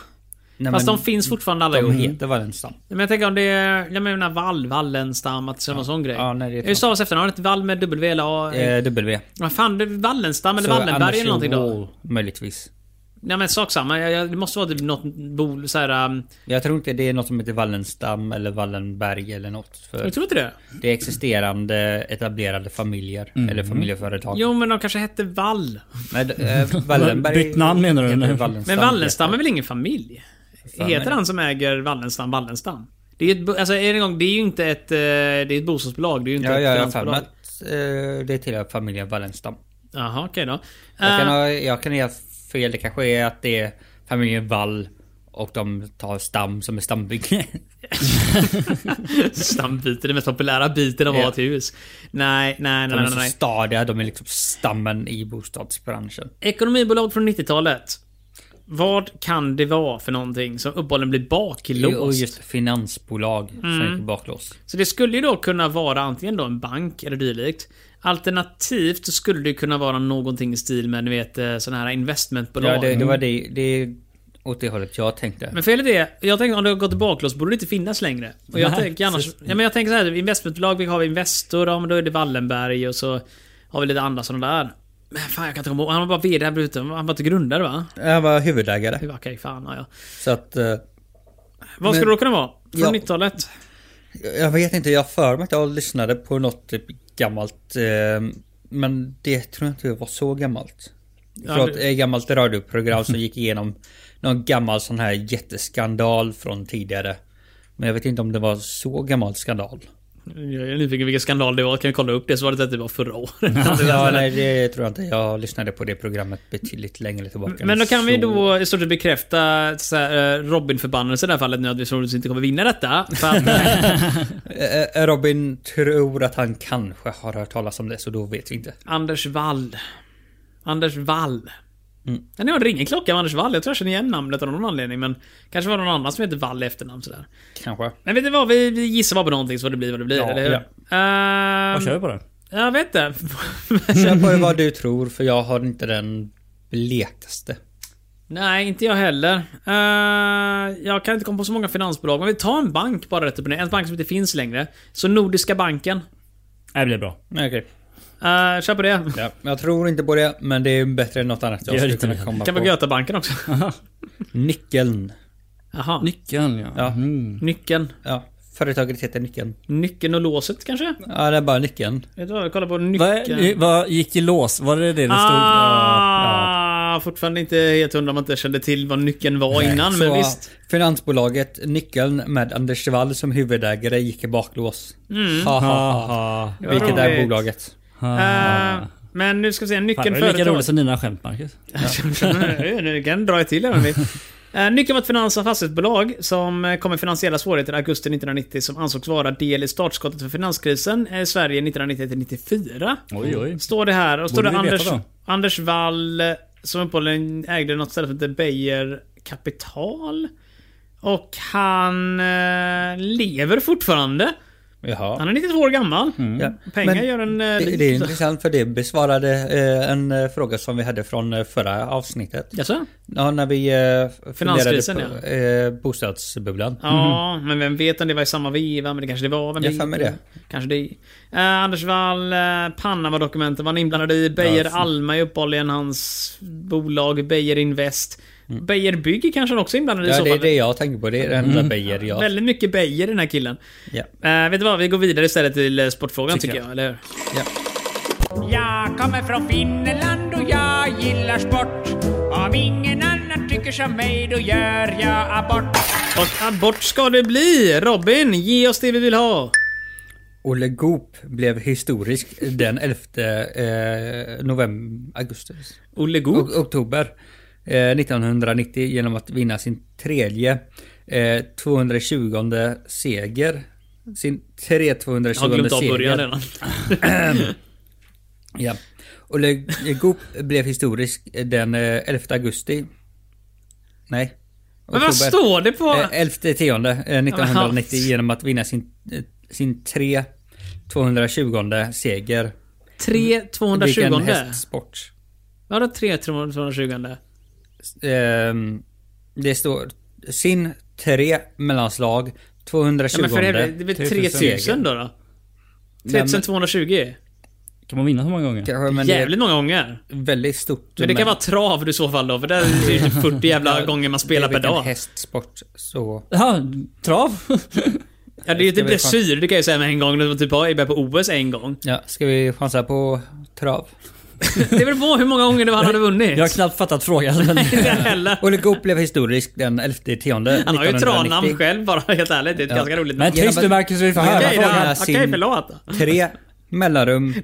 [SPEAKER 3] Nej,
[SPEAKER 1] Fast
[SPEAKER 3] men
[SPEAKER 1] de finns fortfarande alla
[SPEAKER 3] de
[SPEAKER 1] ihop.
[SPEAKER 3] heter Wallenstam.
[SPEAKER 1] Men jag tänker om det är... Jag menar Wall, Wallenstam, att det är någon sån grej.
[SPEAKER 3] Ja, nej, det är
[SPEAKER 1] Hur stavas efternamnet? Wall med W eller A?
[SPEAKER 3] Eh, w.
[SPEAKER 1] Vad fan, det är Wallenstam eller
[SPEAKER 3] Så
[SPEAKER 1] Wallenberg eller någonting då?
[SPEAKER 3] Wall, möjligtvis.
[SPEAKER 1] Nej men sak samma. Jag- jag- Det måste vara typ något bol... Så här, um,
[SPEAKER 3] Jag tror inte det är något som heter Wallenstam eller Wallenberg eller något. För
[SPEAKER 1] jag tror inte det.
[SPEAKER 3] det är existerande etablerade familjer
[SPEAKER 2] Mm.
[SPEAKER 3] eller familjeföretag.
[SPEAKER 1] Jo men de kanske hette Wall.
[SPEAKER 3] Nej, d- eh, Wallenberg...
[SPEAKER 2] Bytt namn menar du?
[SPEAKER 3] heter
[SPEAKER 2] Nej.
[SPEAKER 1] Men
[SPEAKER 3] Wallenstam.
[SPEAKER 1] Wallenstam är väl ingen familj?
[SPEAKER 3] Fan,
[SPEAKER 1] Heter
[SPEAKER 3] nej.
[SPEAKER 1] han som äger Wallenstam Wallenstam? Det är ju ett, bo- alltså, än en gång, det är ju inte ett, eh, det är ett bostadsbolag. Det är ju inte
[SPEAKER 3] Ja,
[SPEAKER 1] ett
[SPEAKER 3] jag har för mig
[SPEAKER 1] finansbolag.
[SPEAKER 3] att eh, det tillhör familjen Wallenstam.
[SPEAKER 1] Jaha, okej då.
[SPEAKER 3] Jag kan,
[SPEAKER 1] Eh,
[SPEAKER 3] ha, jag kan ha fel. Det kanske är att det är familjen Wall och de tar stam som är stambygge.
[SPEAKER 2] typ-
[SPEAKER 1] Stambiten, den Eh, mest populära biten av
[SPEAKER 3] Ja.
[SPEAKER 1] A-hus. Nej, nej,
[SPEAKER 3] De
[SPEAKER 1] nej,
[SPEAKER 3] är
[SPEAKER 1] nej,
[SPEAKER 3] så
[SPEAKER 1] nej.
[SPEAKER 3] stadiga. De är liksom stammen i bostadsbranschen.
[SPEAKER 1] Ekonomibolag från 90-talet. Vad kan det vara för någonting som uppehållen blir baklåst?
[SPEAKER 3] Och just finansbolag som
[SPEAKER 1] Mm.
[SPEAKER 3] gick i baklås.
[SPEAKER 1] Så det skulle ju då kunna vara antingen då en bank eller dylikt. Alternativt så skulle det ju kunna vara någonting i stil med ni vet eh, såna här investmentbolag. Mm.
[SPEAKER 3] Ja, det, det var det, det är åt det hållet jag tänkte.
[SPEAKER 1] Men felet är, jag tänker om det har gått baklås borde det inte finnas längre. Och jag
[SPEAKER 2] Nej,
[SPEAKER 1] tänker annars,
[SPEAKER 2] precis.
[SPEAKER 1] ja, men jag tänker så här, investmentbolag, vi har Investor, ja, men då är det Wallenberg och så har vi lite andra sådana där. Men fan jag kan inte komma ihåg, han var bara VD här bruten, han var inte grundare va?
[SPEAKER 3] Jag var huvudägare.
[SPEAKER 1] Okej, fan ja, ja.
[SPEAKER 3] Så att... eh,
[SPEAKER 1] Vad skulle
[SPEAKER 3] Men-
[SPEAKER 1] det då kunna vara? Från
[SPEAKER 3] Ja.
[SPEAKER 1] 90-talet?
[SPEAKER 3] Jag vet inte, jag har för mig att jag lyssnade på något typ gammalt. eh, Men det tror jag inte var så gammalt. Förlåt,
[SPEAKER 1] det-
[SPEAKER 3] det... gammalt radioprogram som gick igenom någon gammal sån här jätteskandal från tidigare. Men jag vet inte om det var så gammal skandal.
[SPEAKER 1] Jag är nyfiken vilken skandal det var, kan vi kolla upp det? Så var det att det var förra året.
[SPEAKER 3] ja, nej, det tror jag inte. Jag lyssnade på det programmet betydligt längre tillbaka.
[SPEAKER 1] Men då
[SPEAKER 3] än
[SPEAKER 1] kan vi
[SPEAKER 3] så.
[SPEAKER 1] då i stort sett bekräfta så här, eh, Robin-förbannelse i det här fallet nu att vi troligtvis inte kommer vinna detta. För att,
[SPEAKER 3] Eh, eh, Robin tror att han kanske har hört talas om det, så då vet vi inte.
[SPEAKER 1] Anders Wall. Anders Wall. Mm. Det var ingen klocka med Anders Wall. Jag tror jag känner igen namnet av någon anledning. Men kanske var det någon annan som heter Wall i efternamn sådär.
[SPEAKER 3] Kanske.
[SPEAKER 1] Men vet du vad? Vi, vi gissar bara på någonting så får det blir vad det blir.
[SPEAKER 3] Ja,
[SPEAKER 1] eller hur?
[SPEAKER 3] ja.
[SPEAKER 2] Vad
[SPEAKER 1] Ehm,
[SPEAKER 2] kör vi på det?
[SPEAKER 1] jag vet inte.
[SPEAKER 3] Kör på vad du tror, för jag har inte den blekaste.
[SPEAKER 1] Nej, inte jag heller. Eh, jag kan inte komma på så många finansbolag. Men vi tar en bank bara rätt upp och ner. En bank som inte finns längre. Så Nordiska banken.
[SPEAKER 2] Nej, det blir bra.
[SPEAKER 3] Okej.
[SPEAKER 1] Uh, kör på det.
[SPEAKER 3] Ja, jag tror inte på det, men det är bättre än något annat jag
[SPEAKER 2] Gör
[SPEAKER 3] skulle
[SPEAKER 2] inte
[SPEAKER 3] kunna
[SPEAKER 2] det.
[SPEAKER 3] komma
[SPEAKER 1] Kan vara
[SPEAKER 3] på.
[SPEAKER 1] Götabanken också.
[SPEAKER 3] Nyckeln.
[SPEAKER 1] Jaha.
[SPEAKER 2] Nyckeln ja.
[SPEAKER 3] Ja.
[SPEAKER 2] Mm.
[SPEAKER 1] Nyckeln.
[SPEAKER 3] Ja, företaget heter Nyckeln.
[SPEAKER 1] Nyckeln och låset kanske?
[SPEAKER 3] Ja, det är bara Nyckeln.
[SPEAKER 1] Vet du vad? Kolla på
[SPEAKER 2] Vad,
[SPEAKER 1] nyckeln.
[SPEAKER 2] vad gick i lås? Var det det det stod? Ja,
[SPEAKER 1] Ah, Fortfarande inte helt hundra om man inte kände till vad nyckeln var innan, men
[SPEAKER 3] Så,
[SPEAKER 1] visst.
[SPEAKER 3] Finansbolaget Nyckeln med Anders Wall som huvudägare gick i baklås. Mm. Ha, ha, ha, ha.
[SPEAKER 2] ja.
[SPEAKER 1] Det var
[SPEAKER 3] Vilket är
[SPEAKER 1] roligt.
[SPEAKER 3] bolaget.
[SPEAKER 2] Ah.
[SPEAKER 1] Eh, men nu ska vi se,
[SPEAKER 2] Fan,
[SPEAKER 1] nyckeln
[SPEAKER 2] det är lika
[SPEAKER 1] företag.
[SPEAKER 2] roligt som dina skämt Marcus.
[SPEAKER 1] Nu- nu kan dra jag till här, hörni. Eh, Nyckeln var ett finans och fastighetsbolag som eh, kom med finansiella svårigheter i augusti 1990 som ansågs vara del i startskottet för finanskrisen eh, i Sverige 1990-94.
[SPEAKER 2] Oj, oj.
[SPEAKER 1] Står det här. Och står
[SPEAKER 2] Borde
[SPEAKER 1] det
[SPEAKER 2] vi veta
[SPEAKER 1] Anders,
[SPEAKER 2] då?
[SPEAKER 1] Anders Wall eh, som uppehållen ägde något ställe som heter Beijer Kapital. Och han eh, lever fortfarande.
[SPEAKER 3] Jaha.
[SPEAKER 1] Han är 92 år gammal.
[SPEAKER 2] Mm.
[SPEAKER 3] Ja.
[SPEAKER 1] Pengar
[SPEAKER 3] Men
[SPEAKER 1] gör en eh,
[SPEAKER 3] Det,
[SPEAKER 1] rik.
[SPEAKER 3] det är intressant för det besvarade eh, en eh, fråga som vi hade från eh, förra avsnittet.
[SPEAKER 1] Jaså?
[SPEAKER 3] Ja, när vi eh,
[SPEAKER 1] Finanskrisen,
[SPEAKER 3] funderade på eh, bostadsbubblan.
[SPEAKER 1] Ja,
[SPEAKER 2] Mhm.
[SPEAKER 1] men vem vet om det var i samma veva, men det kanske det var. Vem
[SPEAKER 3] Jag
[SPEAKER 1] vet?
[SPEAKER 3] har för mig det.
[SPEAKER 1] Kanske det. Eh, Anders Wall, eh, Panama-dokumenten var han inblandad i. Beijer Alma är uppehållligen hans bolag. Beijer Invest. Beijer Bygg kanske han också är inblandad i i
[SPEAKER 3] Mm. Ja,
[SPEAKER 1] så
[SPEAKER 3] det är
[SPEAKER 1] fall. Mm.
[SPEAKER 3] det jag tänker på. Det är det enda Beijer jag...
[SPEAKER 1] Väldigt mycket Beijer den här killen.
[SPEAKER 3] Ja.
[SPEAKER 1] Eh, vet du vad? Vi går vidare istället till eh, sportfrågan tycker, jag. eller hur?
[SPEAKER 7] Jag kommer från Finland och jag gillar sport. Om ingen annan tycker som mig då gör jag abort.
[SPEAKER 1] Och abort ska det bli! Robin, ge oss det vi vill ha!
[SPEAKER 3] Olle Goop blev historisk den 11 eh, november, augusti,
[SPEAKER 1] Olle Goop.
[SPEAKER 3] o- oktober eh, 1990 genom att vinna sin tredje eh, 220 seger. Sin tre 220
[SPEAKER 1] Jag har glömt av
[SPEAKER 3] seger.
[SPEAKER 1] början redan.
[SPEAKER 3] Ja. Olle Goop blev historisk den eh, 11 augusti. Nej.
[SPEAKER 1] Men vad
[SPEAKER 3] oktober.
[SPEAKER 1] står det på?
[SPEAKER 3] Eh, 11 tionde eh, 1990
[SPEAKER 1] Jaha.
[SPEAKER 3] genom att vinna sin, eh, sin tre 220 seger.
[SPEAKER 1] 3 220?
[SPEAKER 3] Vilken hästsport.
[SPEAKER 1] Vadå 3 220?
[SPEAKER 3] Ehm, det står sin tre mellanslag 220
[SPEAKER 1] Ja, men för helvete, det är väl 3000 då? då?
[SPEAKER 3] men-
[SPEAKER 1] 3220?
[SPEAKER 2] Kan man vinna så många gånger?
[SPEAKER 3] Kanske, men
[SPEAKER 1] Jävligt många gånger.
[SPEAKER 3] det är väldigt stort.
[SPEAKER 1] Men det kan vara trav i så fall då, för där är det ju typ 40 jävla gånger man spelar
[SPEAKER 3] det är
[SPEAKER 1] per
[SPEAKER 3] väl en
[SPEAKER 1] dag.
[SPEAKER 3] hästsport, så...
[SPEAKER 2] Ja, trav.
[SPEAKER 1] Ja, det är ju typ
[SPEAKER 3] vi fan-
[SPEAKER 1] dressyr, det kan jag ju säga med en gång. när man Typ har Ebbe på OS en gång.
[SPEAKER 3] Ja, ska vi chansa på trav?
[SPEAKER 1] Det beror på hur många gånger det var han hade vunnit.
[SPEAKER 2] Jag har knappt fattat frågan. Men...
[SPEAKER 1] Inte heller.
[SPEAKER 3] Olle Goop blev historisk den 11 tionde
[SPEAKER 1] Han har ju
[SPEAKER 3] 1990.
[SPEAKER 1] Tranam själv bara, helt ärligt. Det är ett
[SPEAKER 3] Ja.
[SPEAKER 1] ganska roligt
[SPEAKER 2] Men
[SPEAKER 1] namn.
[SPEAKER 2] tyst nu Marcus, vi får
[SPEAKER 3] Men-
[SPEAKER 2] höra.
[SPEAKER 1] Okej då,
[SPEAKER 3] frågan är
[SPEAKER 1] okej
[SPEAKER 3] sin-
[SPEAKER 1] förlåt.
[SPEAKER 3] Tre mellanrum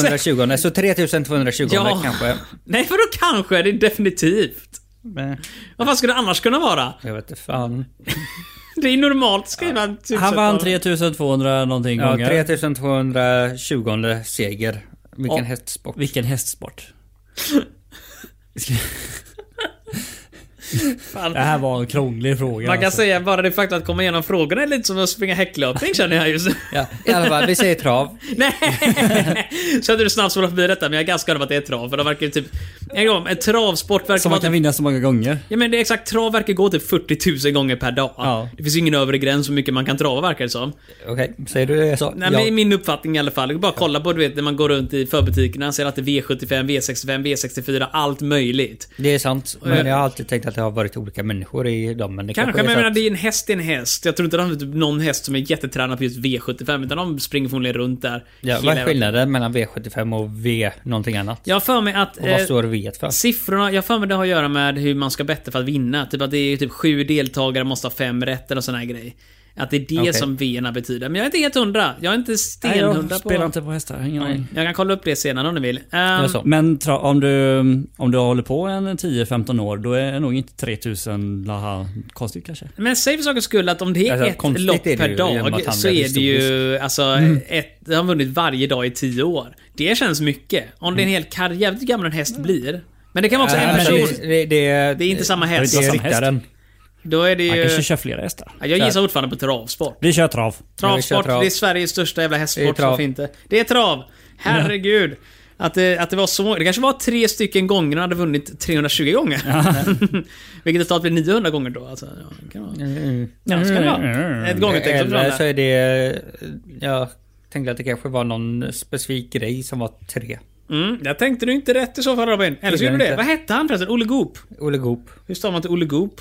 [SPEAKER 3] 220. Så 3220
[SPEAKER 1] Ja.
[SPEAKER 3] kanske.
[SPEAKER 1] Nej, för då kanske det är definitivt.
[SPEAKER 3] Men,
[SPEAKER 1] Vad fan skulle det annars kunna vara?
[SPEAKER 3] jag vet inte fan.
[SPEAKER 1] Det är normalt att skriva typ en tusen
[SPEAKER 2] Han vann
[SPEAKER 1] av-
[SPEAKER 2] 3200 någonting
[SPEAKER 3] Ja,
[SPEAKER 2] gånger.
[SPEAKER 3] 3220 seger. Vilken
[SPEAKER 2] Ja.
[SPEAKER 3] hästsport.
[SPEAKER 2] Vilken hästsport.
[SPEAKER 1] Fan.
[SPEAKER 2] Det här var en krånglig fråga.
[SPEAKER 1] Man kan
[SPEAKER 2] alltså.
[SPEAKER 1] säga bara det faktum att komma igenom frågorna är lite som att springa häcklöpning känner jag just nu.
[SPEAKER 3] Ja, I alla fall, vi säger trav.
[SPEAKER 1] Nej! Kände du snabbt spola förbi detta, men jag är ganska över att det är trav. För de verkar ju typ... En gång, en travsport verkar
[SPEAKER 2] Som man
[SPEAKER 1] vara... typ
[SPEAKER 2] kan vinna så många gånger.
[SPEAKER 1] Ja men det är exakt, trav verkar gå typ 40 000 gånger per dag.
[SPEAKER 2] Ja.
[SPEAKER 1] Det finns ju ingen övre gräns hur mycket man kan trava verkar det som.
[SPEAKER 3] Okej, säger du det så?
[SPEAKER 1] Nej men i min uppfattning i alla fall. Bara kolla på du vet när man går runt i förbutikerna ser att det är V75, V65, V64, allt möjligt.
[SPEAKER 3] Det är sant. Men jag har alltid tänkt att det har varit olika människor i dem. Men det
[SPEAKER 1] Kanske,
[SPEAKER 3] kanske,
[SPEAKER 1] men jag
[SPEAKER 3] är så
[SPEAKER 1] menar
[SPEAKER 3] att-
[SPEAKER 1] det är en häst i en häst. Jag tror inte de har typ någon häst som är jättetränad på just V75 utan de springer förmodligen runt där.
[SPEAKER 3] Ja,
[SPEAKER 1] hela
[SPEAKER 3] vad är
[SPEAKER 1] jävla-
[SPEAKER 3] skillnaden mellan V75 och V någonting annat?
[SPEAKER 1] Jag har för mig att...
[SPEAKER 3] Och vad
[SPEAKER 1] eh,
[SPEAKER 3] står V för?
[SPEAKER 1] Siffrorna, jag har för mig det har att göra med hur man ska betta för att vinna. Typ att det är typ sju deltagare måste ha fem rätt eller sån här grej. Att det är det
[SPEAKER 3] Okej.
[SPEAKER 1] som V-erna betyder. Men jag är inte helt hundra. Jag är inte
[SPEAKER 2] Nej,
[SPEAKER 1] stenhundra
[SPEAKER 2] jag
[SPEAKER 1] på...
[SPEAKER 2] spelar inte på hästar. Ingen aning.
[SPEAKER 1] Jag kan kolla upp det senare om ni vill. Ehm,
[SPEAKER 3] Ja, så.
[SPEAKER 2] Men tra- om du, om du håller på en 10-15 år, då är nog inte 3000 laha konstigt kanske.
[SPEAKER 1] men säg för sakens skull att om det är
[SPEAKER 3] Alltså,
[SPEAKER 1] ett
[SPEAKER 3] konstigt
[SPEAKER 1] lopp
[SPEAKER 3] är det
[SPEAKER 1] per
[SPEAKER 3] ju, genom att
[SPEAKER 1] dag
[SPEAKER 3] han
[SPEAKER 1] så
[SPEAKER 3] blev
[SPEAKER 1] är det ju... Alltså, ett, de har vunnit varje dag i tio år. Det känns mycket. Om det är en hel karriär. Jag vet inte hur gammal en häst blir. Men det kan vara också
[SPEAKER 3] Nej,
[SPEAKER 1] en
[SPEAKER 3] men
[SPEAKER 1] person.
[SPEAKER 3] Eh, det, det, det,
[SPEAKER 1] Det är inte samma häst.
[SPEAKER 3] Det är
[SPEAKER 2] samma häst.
[SPEAKER 3] ryttaren.
[SPEAKER 1] Då är det
[SPEAKER 2] Man kanske
[SPEAKER 1] ju...
[SPEAKER 2] kör flera hästar.
[SPEAKER 1] Ja, Jag gissar fortfarande på travsport.
[SPEAKER 2] Vi kör trav.
[SPEAKER 3] Ja, vi kör
[SPEAKER 1] Travsport,
[SPEAKER 3] trav.
[SPEAKER 1] det är Sveriges största jävla
[SPEAKER 3] Det är
[SPEAKER 1] hästsport.
[SPEAKER 3] trav.
[SPEAKER 1] Varför inte? Det är trav! Herregud. Att det, att det var så Det kanske var tre stycken gånger han hade vunnit 320 gånger. Vilket resultat blir 900 gånger då. Alltså, ja, det kan vara.
[SPEAKER 3] Mm.
[SPEAKER 1] Ja, ska det vara. Ett gångertecken för
[SPEAKER 3] Eller
[SPEAKER 1] varandra.
[SPEAKER 3] så är det... Jag tänkte att det kanske var någon specifik grej som var tre.
[SPEAKER 1] Mm, där tänkte du inte rätt i så fall Robin. Eller så gjorde du det.
[SPEAKER 3] inte.
[SPEAKER 1] Vad hette han förresten? Olle Goop?
[SPEAKER 3] Olle Goop.
[SPEAKER 1] Hur stavar man till Olle Goop?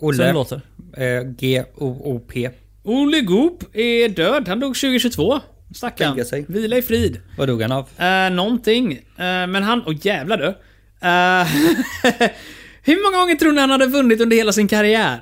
[SPEAKER 2] Så det
[SPEAKER 3] Olle.
[SPEAKER 2] låter.
[SPEAKER 3] eh, G-O-O-P.
[SPEAKER 1] Olle Goop är död. Han dog 2022. Stackarn.
[SPEAKER 3] Tänka sig.
[SPEAKER 1] Vila i frid.
[SPEAKER 3] Vad dog han av?
[SPEAKER 1] Eh, någonting. Eh, men han... Åh jävlar du. Eh, Hur många gånger tror ni han hade vunnit under hela sin karriär?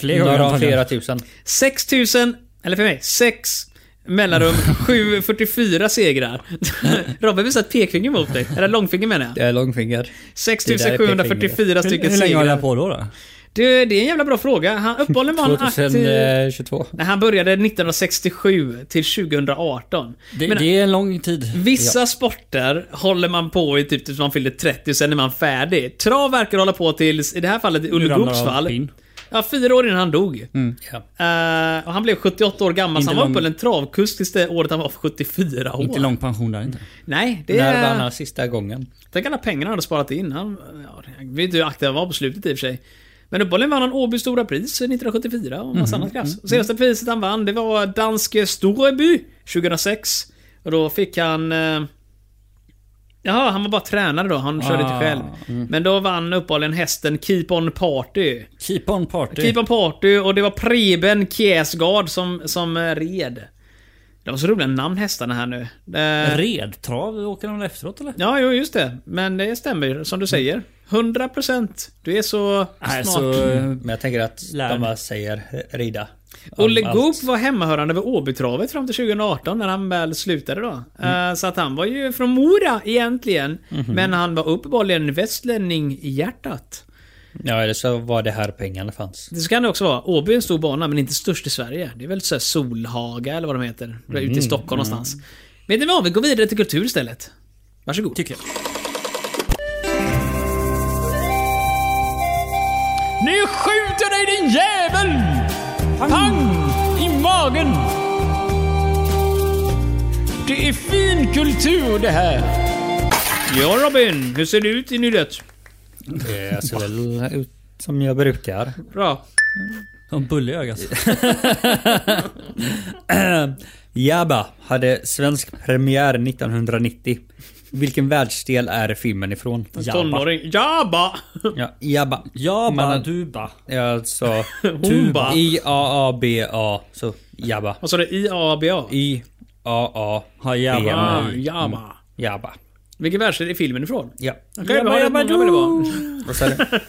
[SPEAKER 2] Fler gånger
[SPEAKER 3] Några
[SPEAKER 2] antagligen.
[SPEAKER 3] 4000.
[SPEAKER 1] 6000, eller för mig, 6 mellanrum 744 segrar. Robin visar ett pekfinger mot dig. Eller långfinger menar
[SPEAKER 3] Det
[SPEAKER 1] jag.
[SPEAKER 3] är långfinger. Det
[SPEAKER 1] 6744
[SPEAKER 2] Hur,
[SPEAKER 1] stycken
[SPEAKER 2] hur länge höll
[SPEAKER 1] segrar.
[SPEAKER 2] jag på då? då?
[SPEAKER 1] Du, det är en jävla bra fråga. Han uppehållen var han
[SPEAKER 2] eh,
[SPEAKER 1] aktiv...
[SPEAKER 3] 2022.
[SPEAKER 1] Nej, han började 1967 till 2018.
[SPEAKER 2] Det,
[SPEAKER 1] Men-
[SPEAKER 2] det är en lång tid.
[SPEAKER 1] Vissa sporter håller man på i typ tills man fyller 30 sen är man färdig. Trav verkar hålla på tills, i det här fallet i Ulle
[SPEAKER 2] ramlar
[SPEAKER 1] Goops
[SPEAKER 2] av
[SPEAKER 1] fall,
[SPEAKER 2] pin.
[SPEAKER 1] ja, fyra år innan han dog.
[SPEAKER 3] Ja.
[SPEAKER 1] Eh, och han blev 78 år gammal, så
[SPEAKER 2] Inte
[SPEAKER 1] han var
[SPEAKER 2] lång-
[SPEAKER 1] uppe på en travkurs tills det året han var 74 år.
[SPEAKER 2] Inte lång pension där inte.
[SPEAKER 1] Nej, det
[SPEAKER 3] När vann
[SPEAKER 1] är...
[SPEAKER 3] han sista gången?
[SPEAKER 1] Tänk alla pengarna han hade sparat in. Han, ja, jag vet inte hur aktiv han var på slutet i och för sig. Men uppehållligen vann han Åby Stora Pris 1974 och massa annat klass. Och senaste priset han vann, det var Danske Storeby 2006. Och då fick han... Eh, jaha, han var bara tränare då. Han körde inte
[SPEAKER 2] Ah,
[SPEAKER 1] själv. Men då vann uppehållligen hästen Keep On Party.
[SPEAKER 2] Keep on party.
[SPEAKER 1] Keep on party och det var Preben Kjæsgaard som, som eh, red. Det var så roliga namn hästarna här nu. Eh,
[SPEAKER 2] Redtrav åker de väl efteråt eller?
[SPEAKER 1] ja, jo, just det. Men det stämmer ju, som du säger. 100%. Du är så
[SPEAKER 2] Nej,
[SPEAKER 1] smart.
[SPEAKER 2] så... eh,
[SPEAKER 3] Men jag tänker att
[SPEAKER 2] Lärd.
[SPEAKER 3] de bara säger rida. Om
[SPEAKER 1] Olle
[SPEAKER 3] allt.
[SPEAKER 1] Goop var hemmahörande vid Åbytravet fram till 2018 när han väl slutade då. Eh,
[SPEAKER 2] Mm.
[SPEAKER 1] Så att han var ju från Mora egentligen.
[SPEAKER 2] Mhm.
[SPEAKER 1] Men han var uppenbarligen västlänning i hjärtat.
[SPEAKER 3] Ja, eller så var det här pengarna fanns.
[SPEAKER 1] Det så kan det också vara. Åby är en stor bana, men inte störst i Sverige. Det är väl såhär Solhaga eller vad de heter. Mm. Ute i Stockholm någonstans. Vet ni vad? Vi går vidare till kultur istället. Varsågod.
[SPEAKER 2] Tycker jag.
[SPEAKER 7] Nu skjuter dig din jävel! Pang! I magen! Det är fin kultur det här.
[SPEAKER 1] Ja Robin, hur ser det ut i nylet?
[SPEAKER 3] Det ser väl ut som jag brukar.
[SPEAKER 1] Bra.
[SPEAKER 2] Som bulle i ögat.
[SPEAKER 3] Jabba hade svensk premiär 1990. Vilken världsdel är filmen ifrån?
[SPEAKER 1] Tonåring. Jabba!
[SPEAKER 3] Ja, Jabba.
[SPEAKER 2] Jabba
[SPEAKER 3] Man-
[SPEAKER 2] duba.
[SPEAKER 3] Jag sa
[SPEAKER 1] Humba.
[SPEAKER 3] I-A-A-B-A. Så Jabba.
[SPEAKER 1] Vad sa du? I-A-B-A?
[SPEAKER 3] I-A-A.
[SPEAKER 2] Ha jabba.
[SPEAKER 1] Ah, Jabba.
[SPEAKER 3] Jabba.
[SPEAKER 1] Vilken världsdel är filmen ifrån?
[SPEAKER 3] Ja.
[SPEAKER 1] Okej, vi har rätt många att välja på.
[SPEAKER 3] Vad sa du?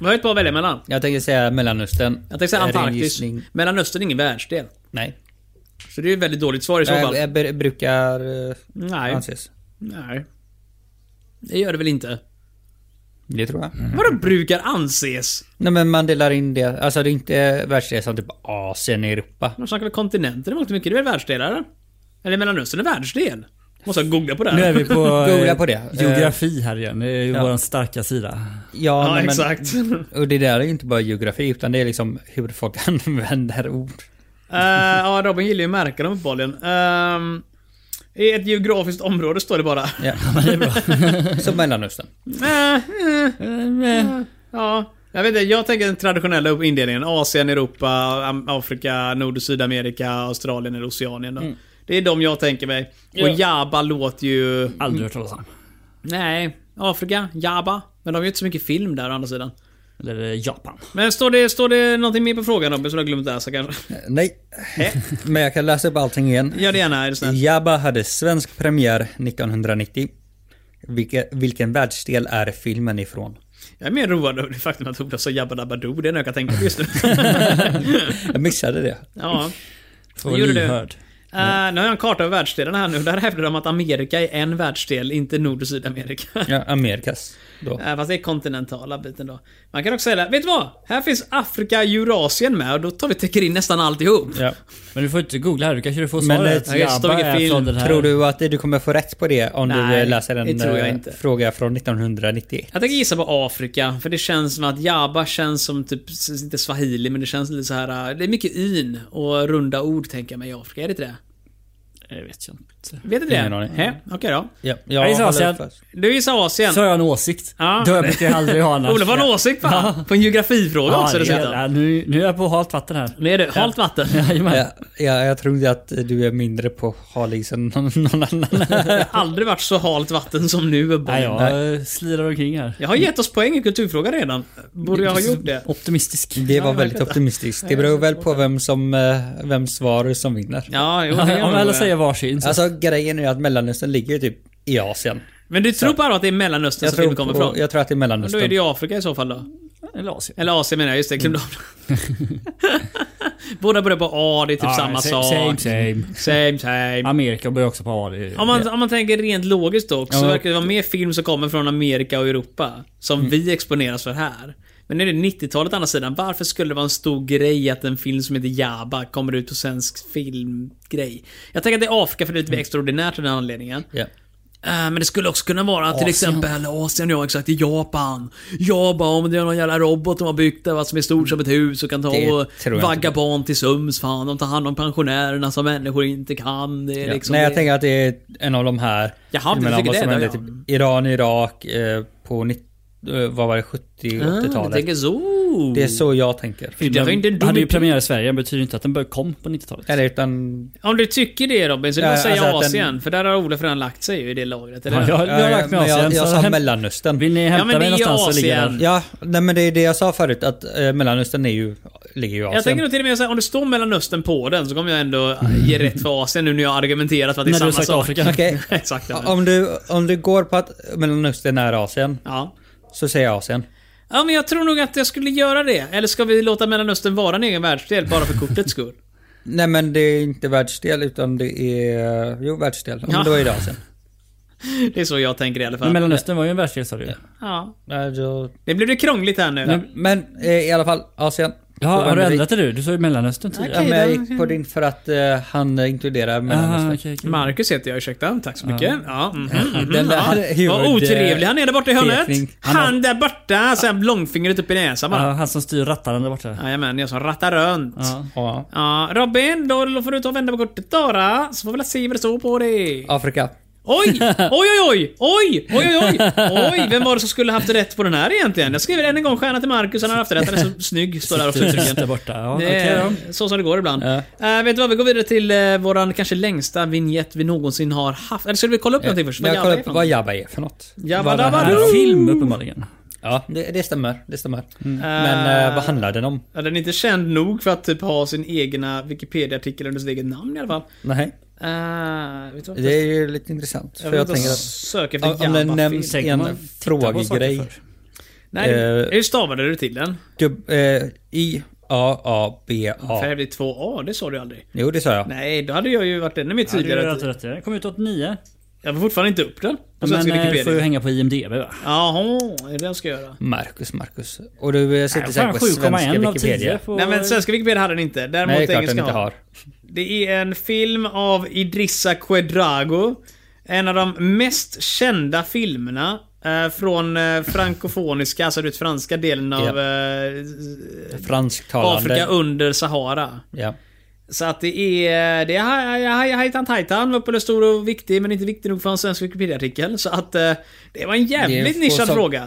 [SPEAKER 1] Vi har ett par att välja mellan.
[SPEAKER 3] Jag tänker säga Mellanöstern.
[SPEAKER 1] Jag tänkte säga
[SPEAKER 3] Är det en
[SPEAKER 1] Antarktis.
[SPEAKER 3] gissning?
[SPEAKER 1] Mellanöstern är ingen världsdel.
[SPEAKER 3] Nej.
[SPEAKER 1] Så det är ju ett väldigt dåligt svar i så fall.
[SPEAKER 3] Jag, jag br- brukar eh,
[SPEAKER 1] Nej.
[SPEAKER 3] anses.
[SPEAKER 1] Nej. Det gör det väl inte?
[SPEAKER 3] Det tror jag.
[SPEAKER 1] Vadå brukar anses?
[SPEAKER 3] Nej men man delar in det. Alltså det är inte världsdel som typ Asien, Europa.
[SPEAKER 1] Man snackar väl kontinenter i mångt och mycket? Det är väl världsdelar? eller? Eller Mellanöstern är världsdel? Måste jag googla på det här.
[SPEAKER 2] Nu är vi på...
[SPEAKER 3] Googla
[SPEAKER 2] eh,
[SPEAKER 3] på det.
[SPEAKER 1] Eh.
[SPEAKER 2] Geografi här igen. Det är ju
[SPEAKER 3] Ja.
[SPEAKER 2] våran starka sida.
[SPEAKER 3] Ja,
[SPEAKER 1] Ja,
[SPEAKER 3] nej, men,
[SPEAKER 1] exakt.
[SPEAKER 3] Och det där är ju inte bara geografi utan det är liksom hur folk använder ord.
[SPEAKER 1] Eh, Ja, Robin gillar ju att märka dem uppenbarligen. Ehm, I ett geografiskt område står det bara.
[SPEAKER 3] Ja, men det är bra. Som Mellanöstern.
[SPEAKER 1] Eh, eh, eh, Ja, jag vet inte. Jag tänker den traditionella upp- indelningen. Asien, Europa, Am- Afrika, Nord och Sydamerika, Australien eller Oceanien. Då. Det är de jag tänker mig. Och Jabba låter ju...
[SPEAKER 2] Aldrig hört talas om.
[SPEAKER 1] Nej, Afrika, Jabba. Men de har ju inte så mycket film där å andra sidan.
[SPEAKER 2] Eller eh, Japan.
[SPEAKER 1] Men står det, står det någonting mer på frågan Robin som jag har glömt läsa kanske?
[SPEAKER 3] Nej. Men jag kan läsa upp allting igen.
[SPEAKER 1] Gör det gärna, är det snällt.
[SPEAKER 3] Jabba hade svensk premiär 1990. Vilke, vilken världsdel är filmen ifrån?
[SPEAKER 1] Jag är mer road över det faktum att Ola sa Jabba Dabba Doo. Det är något jag kan tänka på just nu.
[SPEAKER 3] Jag missade det.
[SPEAKER 1] ja.
[SPEAKER 2] Får
[SPEAKER 1] Gjorde du?
[SPEAKER 2] lyhörd.
[SPEAKER 1] Eh, nu har jag en karta över världsdelarna här nu. Där hävdar de att Amerika är en världsdel, inte Nord och Sydamerika.
[SPEAKER 3] Ja, Amerikas. Då.
[SPEAKER 1] Eh, Fast det är kontinentala biten då. Man kan också säga det. Vet du vad? Här finns Afrika, Eurasien med och då tar vi täcker in nästan alltihop.
[SPEAKER 3] Ja.
[SPEAKER 2] Men du får inte googla här. Du kanske får
[SPEAKER 3] Men, eh,
[SPEAKER 2] svaret.
[SPEAKER 1] jag står ingen film.
[SPEAKER 2] här.
[SPEAKER 3] Tror du att du kommer få rätt på det om
[SPEAKER 1] Nej,
[SPEAKER 3] du läser en
[SPEAKER 1] det tror jag
[SPEAKER 3] eh,
[SPEAKER 1] inte.
[SPEAKER 3] fråga från 1991?
[SPEAKER 1] Jag tänker gissa på Afrika, för det känns som att Jabba känns som typ, inte swahili, men det känns lite så här. eh, Det är mycket yn och runda ord tänker jag mig i Afrika, är det inte det?
[SPEAKER 2] Jag vet jag inte.
[SPEAKER 1] Vet du det?
[SPEAKER 3] Ingen aning.
[SPEAKER 1] Hä? Okej då.
[SPEAKER 3] Ja,
[SPEAKER 2] Jag gissar
[SPEAKER 1] alltså,
[SPEAKER 3] håller
[SPEAKER 2] Asien.
[SPEAKER 3] fast.
[SPEAKER 1] Du gissar Asien.
[SPEAKER 2] Så har jag en åsikt.
[SPEAKER 1] Ja.
[SPEAKER 2] Då brukar jag aldrig ha annars.
[SPEAKER 1] Olof har en åsikt fan. På en geografifråga
[SPEAKER 2] Ja,
[SPEAKER 1] också
[SPEAKER 2] det är,
[SPEAKER 1] dessutom.
[SPEAKER 2] ja, nu, nu är jag på halt vatten här.
[SPEAKER 1] Nu är det halt vatten.
[SPEAKER 2] Jajamän.
[SPEAKER 3] Ja, ja, jag tror inte att du är mindre på halis än någon, någon annan.
[SPEAKER 1] Det har aldrig varit så halt vatten som nu.
[SPEAKER 2] Nej,
[SPEAKER 1] Ja.
[SPEAKER 2] jag eh, slirar omkring här.
[SPEAKER 1] Jag har gett oss poäng i kulturfråga redan. Borde jag ha gjort det?
[SPEAKER 2] Optimistisk.
[SPEAKER 3] Det var väldigt optimistiskt. Det beror väl på vem som, eh, vem svar som vinner.
[SPEAKER 1] Ja, jo, det är nog
[SPEAKER 2] Om alla
[SPEAKER 1] det.
[SPEAKER 2] säger varsin så...
[SPEAKER 3] Alltså grejen är att Mellanöstern ligger ju typ i Asien.
[SPEAKER 1] Men du tror bara att det är Mellanöstern
[SPEAKER 3] Jag
[SPEAKER 1] som filmen
[SPEAKER 3] tror,
[SPEAKER 1] kommer
[SPEAKER 3] på,
[SPEAKER 1] ifrån?
[SPEAKER 3] jag tror att det är
[SPEAKER 1] Men Då
[SPEAKER 3] Mellanöstern.
[SPEAKER 1] är det ju Afrika i så fall då.
[SPEAKER 2] Eller Asien.
[SPEAKER 1] Eller Asien menar jag, just det. Jag
[SPEAKER 2] Mm.
[SPEAKER 1] glömde av det. Båda börjar på A, det är typ
[SPEAKER 2] Ja,
[SPEAKER 1] samma
[SPEAKER 2] same,
[SPEAKER 1] sak.
[SPEAKER 2] Same,
[SPEAKER 1] same.
[SPEAKER 2] same.
[SPEAKER 1] same.
[SPEAKER 2] Amerika börjar också på A. det-
[SPEAKER 1] Om man, om man tänker rent logiskt dock, så
[SPEAKER 3] Ja. Mm.
[SPEAKER 1] verkar det vara mer film som kommer från Amerika och Europa. Som vi exponeras för här. Men nu är det 90-talet å andra sidan. Varför skulle det vara en stor grej att en film som heter Jabba kommer ut på svensk filmgrej? Jag tänker att det är Afrika för det är
[SPEAKER 3] Mm.
[SPEAKER 1] lite mer extraordinärt av den anledningen.
[SPEAKER 3] Ja.
[SPEAKER 1] Eh, Men det skulle också kunna vara till exempel Asien, ja exakt, i Japan. Jabba, om det är någon jävla robot de har byggt där va, som är stor som ett hus och kan ta
[SPEAKER 3] Det
[SPEAKER 1] och
[SPEAKER 3] tror jag
[SPEAKER 1] vagga barn till söms. Fan, de tar hand om pensionärerna som människor inte kan. Det är
[SPEAKER 3] Ja.
[SPEAKER 1] liksom
[SPEAKER 3] Nej, jag
[SPEAKER 1] det-
[SPEAKER 3] tänker att det är en av de här.
[SPEAKER 1] Jaha, du
[SPEAKER 3] Jag menar,
[SPEAKER 1] tycker
[SPEAKER 3] vad
[SPEAKER 1] det,
[SPEAKER 3] som
[SPEAKER 1] då,
[SPEAKER 3] hände
[SPEAKER 1] ja.
[SPEAKER 3] typ Iran, Irak eh, på 90, eh, vad var det, 70
[SPEAKER 1] Ah, du
[SPEAKER 3] 80-talet.
[SPEAKER 1] tänker så.
[SPEAKER 3] det är så jag tänker.
[SPEAKER 1] Det var inte en
[SPEAKER 2] Den
[SPEAKER 1] dum
[SPEAKER 2] hade ju
[SPEAKER 1] idé.
[SPEAKER 2] premiär i Sverige, men betyder inte att den bör kom på 90-talet.
[SPEAKER 3] Eller utan...
[SPEAKER 1] Om du tycker det Robin, så du
[SPEAKER 3] Ja,
[SPEAKER 1] ja, säga
[SPEAKER 3] alltså att
[SPEAKER 1] Asien.
[SPEAKER 3] den-
[SPEAKER 1] För där har Olof redan lagt sig ju i det lagret. Eller?
[SPEAKER 2] Ja,
[SPEAKER 1] Ja,
[SPEAKER 2] jag, jag har lagt mig
[SPEAKER 3] men jag,
[SPEAKER 2] Asien.
[SPEAKER 3] jag
[SPEAKER 2] så
[SPEAKER 3] sa
[SPEAKER 2] hem-
[SPEAKER 3] Mellanöstern.
[SPEAKER 2] Vill ni hämta
[SPEAKER 1] men det är
[SPEAKER 2] mig någonstans så
[SPEAKER 1] Asien.
[SPEAKER 2] ligger den.
[SPEAKER 3] Ja, nej men det är det jag sa förut att eh, Mellanöstern är ju, ligger ju i Asien.
[SPEAKER 1] jag tänker nog till och med säga om det står Mellanöstern på den så kommer jag ändå ge rätt för Asien nu när jag har argumenterat för att det är
[SPEAKER 2] När du
[SPEAKER 1] samma
[SPEAKER 2] har sagt
[SPEAKER 1] sak.
[SPEAKER 2] Afrika.
[SPEAKER 3] Okej.
[SPEAKER 1] Exakt. Ja.
[SPEAKER 3] Om du, om du går på att Mellanöstern är Asien,
[SPEAKER 1] Ja.
[SPEAKER 3] så säger jag Asien.
[SPEAKER 1] ja, men jag tror nog att jag skulle göra det. Eller ska vi låta Mellanöstern vara en egen världsdel bara för kortets skull?
[SPEAKER 3] Nej men det är inte världsdel utan det är... Jo, världsdel. Ja.
[SPEAKER 1] Ja.
[SPEAKER 3] Men då är det Asien.
[SPEAKER 1] Det är så jag tänker i alla
[SPEAKER 2] Men
[SPEAKER 1] fall.
[SPEAKER 2] Mellanöstern var ju en världsdel sa du ju.
[SPEAKER 1] Ja.
[SPEAKER 3] Nej, då-
[SPEAKER 1] Det blev det krångligt här nu.
[SPEAKER 3] Men, men eh, i alla fall, Asien.
[SPEAKER 2] Ja,
[SPEAKER 3] Då
[SPEAKER 2] har
[SPEAKER 3] vänder
[SPEAKER 2] du
[SPEAKER 3] vi-
[SPEAKER 2] ändrat det du? Du sa ju Mellanöstern typ. tidigare.
[SPEAKER 3] Ja, men jag gick på din för att eh, han inkluderar
[SPEAKER 2] Ah,
[SPEAKER 3] Mellanöstern.
[SPEAKER 2] okej, okej.
[SPEAKER 1] Marcus heter jag, ursäkta. Tack så mycket. Ja. Mm, mm, mm,
[SPEAKER 3] Den
[SPEAKER 1] ja.
[SPEAKER 3] där huvud-
[SPEAKER 1] Vad otrevlig han är där borta i
[SPEAKER 3] pekning.
[SPEAKER 1] hörnet.
[SPEAKER 3] Han har-
[SPEAKER 1] Han där borta, så här långfingret upp i näsan bara.
[SPEAKER 2] Ja, han som styr rattaren där borta.
[SPEAKER 1] Jajamän, jag som rattar runt. Ja.
[SPEAKER 3] Ja.
[SPEAKER 1] Robin, då får du ta och vända på kortet då, då. Så får vi väl se vad det står på det.
[SPEAKER 3] Afrika.
[SPEAKER 1] Oj! Oj, oj, oj! Oj, oj, oj, oj! Oj, vem var det som skulle haft rätt på den här egentligen? Jag skriver än en gång stjärna till Marcus, han har haft rätt. Han är så snygg, står där och
[SPEAKER 2] Tusen där
[SPEAKER 1] slutrycker.
[SPEAKER 2] borta. Ja,
[SPEAKER 1] Det är
[SPEAKER 2] okej
[SPEAKER 1] så som det går ibland.
[SPEAKER 2] Ja.
[SPEAKER 1] Eh, vet du vad, vi går vidare till eh, våran kanske längsta vignett vi någonsin har haft. Eller ska vi kolla upp någonting först?
[SPEAKER 3] Jag
[SPEAKER 1] Vad
[SPEAKER 3] kollar
[SPEAKER 1] jävla är
[SPEAKER 3] upp
[SPEAKER 1] för
[SPEAKER 3] vad
[SPEAKER 1] något?
[SPEAKER 3] Jabba är för något.
[SPEAKER 1] Jabba
[SPEAKER 3] Vad det
[SPEAKER 1] dabba
[SPEAKER 3] handlar
[SPEAKER 2] Det är
[SPEAKER 3] om.
[SPEAKER 2] en film uppenbarligen.
[SPEAKER 3] Ja, det, det stämmer. Det stämmer. Men
[SPEAKER 1] Eh,
[SPEAKER 3] eh, vad handlar den om?
[SPEAKER 1] Ja, den är inte känd nog för att typ ha sin egna Wikipedia-artikel under sitt eget namn i alla fall.
[SPEAKER 3] Nej.
[SPEAKER 1] Eh, vet du vad?
[SPEAKER 3] Det är ju lite intressant.
[SPEAKER 1] jag
[SPEAKER 3] För
[SPEAKER 1] vill
[SPEAKER 3] jag
[SPEAKER 1] inte
[SPEAKER 3] tänker att
[SPEAKER 1] söka efter
[SPEAKER 3] om, om den nämns i
[SPEAKER 2] Säkert man
[SPEAKER 3] en
[SPEAKER 2] tittar på saker
[SPEAKER 3] frågegrej.
[SPEAKER 2] först.
[SPEAKER 1] Nej,
[SPEAKER 3] eh,
[SPEAKER 1] hur stavade du till den?
[SPEAKER 3] Dub- eh, I, A, A, B,
[SPEAKER 1] För
[SPEAKER 3] A.
[SPEAKER 1] det blir två A, det sa du aldrig.
[SPEAKER 3] Jo, det sa jag.
[SPEAKER 1] Nej, då hade jag ju varit ännu mer
[SPEAKER 2] Ja, det är
[SPEAKER 1] tydligare.
[SPEAKER 2] rätt
[SPEAKER 1] att-
[SPEAKER 2] rätt. Det kom ut 89.
[SPEAKER 1] jag får fortfarande inte upp den på
[SPEAKER 2] Men
[SPEAKER 1] svenska
[SPEAKER 2] eh, får ju
[SPEAKER 1] Wikipedia.
[SPEAKER 2] hänga på IMDB va?
[SPEAKER 1] Jaha, är det det jag ska göra?
[SPEAKER 3] Marcus, Marcus. Och du eh, sitter
[SPEAKER 2] Nej,
[SPEAKER 3] säkert
[SPEAKER 2] fan,
[SPEAKER 3] på svenska
[SPEAKER 2] 7,1 av 10
[SPEAKER 3] Wikipedia.
[SPEAKER 2] på...
[SPEAKER 1] Nej men svenska Wikipedia hade den inte. Däremot
[SPEAKER 3] Nej, det är klart den
[SPEAKER 1] engelska
[SPEAKER 3] inte har.
[SPEAKER 1] Det är en film av Idrissa Quedrago. En av de mest kända filmerna eh, från eh, frankofoniska, alltså den franska delen av eh,
[SPEAKER 3] Fransktalande.
[SPEAKER 1] Afrika under Sahara.
[SPEAKER 3] Ja.
[SPEAKER 1] Så att det är... Det är Hajtan Tajtan, var på stor och viktig, men inte viktig nog för en svensk Wikipedia-artikel. Så att eh, det var en
[SPEAKER 3] Det är
[SPEAKER 1] jävligt
[SPEAKER 3] få
[SPEAKER 1] nischad
[SPEAKER 3] som-
[SPEAKER 1] fråga.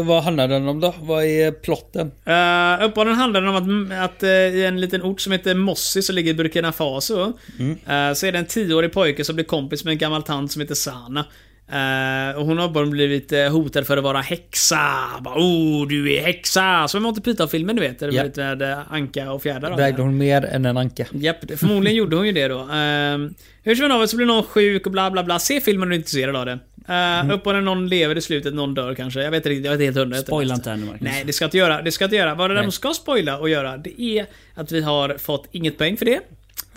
[SPEAKER 3] Eh, vad handlar den om då? Vad är plotten?
[SPEAKER 1] Uh, uppehållen handlar det om att, att eh, i en liten ort som heter Mossi så ligger Burkina Faso.
[SPEAKER 3] Mm.
[SPEAKER 1] Eh, så är det en tioårig pojke som blir kompis med en gammal tant som heter Sana. Eh, och hon har bara blivit eh, hotad för att vara häxa. Bara, oh, du är häxa! Som i Monty Python-filmen du vet. Där det
[SPEAKER 3] Ja.
[SPEAKER 1] var lite med eh, anka och fjädrar. och
[SPEAKER 3] Vägde
[SPEAKER 1] det.
[SPEAKER 3] hon mer än en anka?
[SPEAKER 1] Japp, det- förmodligen gjorde hon ju det då. Uh, hur som helst så blir någon sjuk och bla bla bla. Se filmen om du är intresserad av det. Uh,
[SPEAKER 2] Mm.
[SPEAKER 1] Uppehållen någon lever i slutet, någon dör kanske. Jag vet inte riktigt, jag är inte helt hundra. jag vet
[SPEAKER 2] Spoila inte ännu Marcus.
[SPEAKER 1] Nej, det ska jag inte göra. Det ska jag inte göra. Vad det däremot ska spoila och göra, det är att vi har fått inget poäng för det.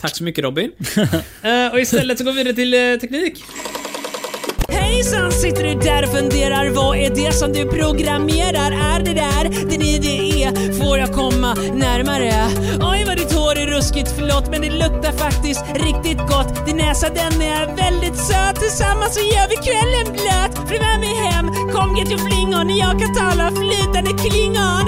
[SPEAKER 1] Tack så mycket Robin. Eh, och istället så går vi vidare till eh, teknik.
[SPEAKER 8] Hejsan, sitter du där och funderar? Vad är det som du programmerar? Är det där din idé? Får jag komma närmare? Oj, vad ditt hår är ruskigt, förlåt, men det luktar faktiskt riktigt gott. Din näsa, den är väldigt söt. Tillsammans så gör vi kvällen blöt. Följ med mig hem, kom get your flingon. Jag kan tala flytande klingon.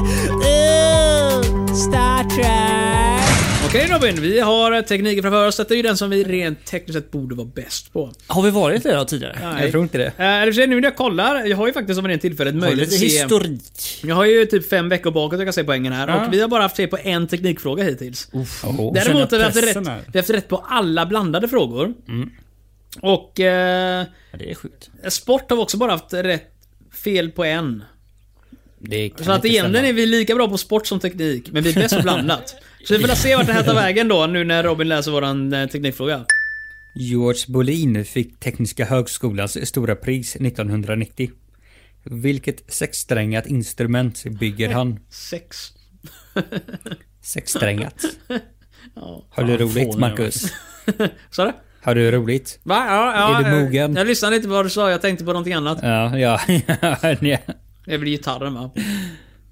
[SPEAKER 8] Ugh, Star Trek.
[SPEAKER 1] Okej Robin, vi har eh, tekniken framför oss. Detta är ju den som vi rent tekniskt sett borde vara bäst på.
[SPEAKER 2] Har vi varit det då tidigare?
[SPEAKER 1] Nej.
[SPEAKER 3] Jag tror inte det.
[SPEAKER 1] Eh, Eller för sig, nu när jag kollar, jag har ju faktiskt som en tillfället
[SPEAKER 2] Har vi
[SPEAKER 1] möjlighet
[SPEAKER 2] lite
[SPEAKER 1] att se...
[SPEAKER 2] historik.
[SPEAKER 1] Jag har ju typ fem veckor bakåt jag kan se poängen här och vi har bara haft fel på en teknikfråga hittills.
[SPEAKER 3] Oho.
[SPEAKER 1] Däremot har vi haft, rätt,
[SPEAKER 2] pressen
[SPEAKER 1] vi
[SPEAKER 2] här.
[SPEAKER 1] har haft rätt på alla blandade frågor. Och... Eh,
[SPEAKER 2] Ja, det är sjukt.
[SPEAKER 1] Sport har vi också bara haft rätt fel på en.
[SPEAKER 3] Det kan
[SPEAKER 1] Så att
[SPEAKER 3] inte
[SPEAKER 1] egentligen
[SPEAKER 3] stämma.
[SPEAKER 1] är vi lika bra på sport som teknik, men vi är bäst på blandat. Så vi får väl se vart det här tar vägen då, nu när Robin läser våran eh, teknikfråga.
[SPEAKER 3] George Bolin fick Tekniska högskolans stora pris 1990. Vilket sexsträngat instrument bygger han?
[SPEAKER 1] Sex.
[SPEAKER 3] Sexsträngat.
[SPEAKER 1] Ja.
[SPEAKER 3] Har du
[SPEAKER 2] Fan,
[SPEAKER 3] roligt
[SPEAKER 2] fånig,
[SPEAKER 3] Marcus?
[SPEAKER 1] Sa du?
[SPEAKER 3] Har du roligt?
[SPEAKER 1] Va? Ja, ja,
[SPEAKER 3] Är du
[SPEAKER 1] eh,
[SPEAKER 3] mogen?
[SPEAKER 1] Jag lyssnade inte på vad du sa, jag tänkte på någonting annat.
[SPEAKER 3] Ja, ja, ja,
[SPEAKER 1] Det är väl gitarren va?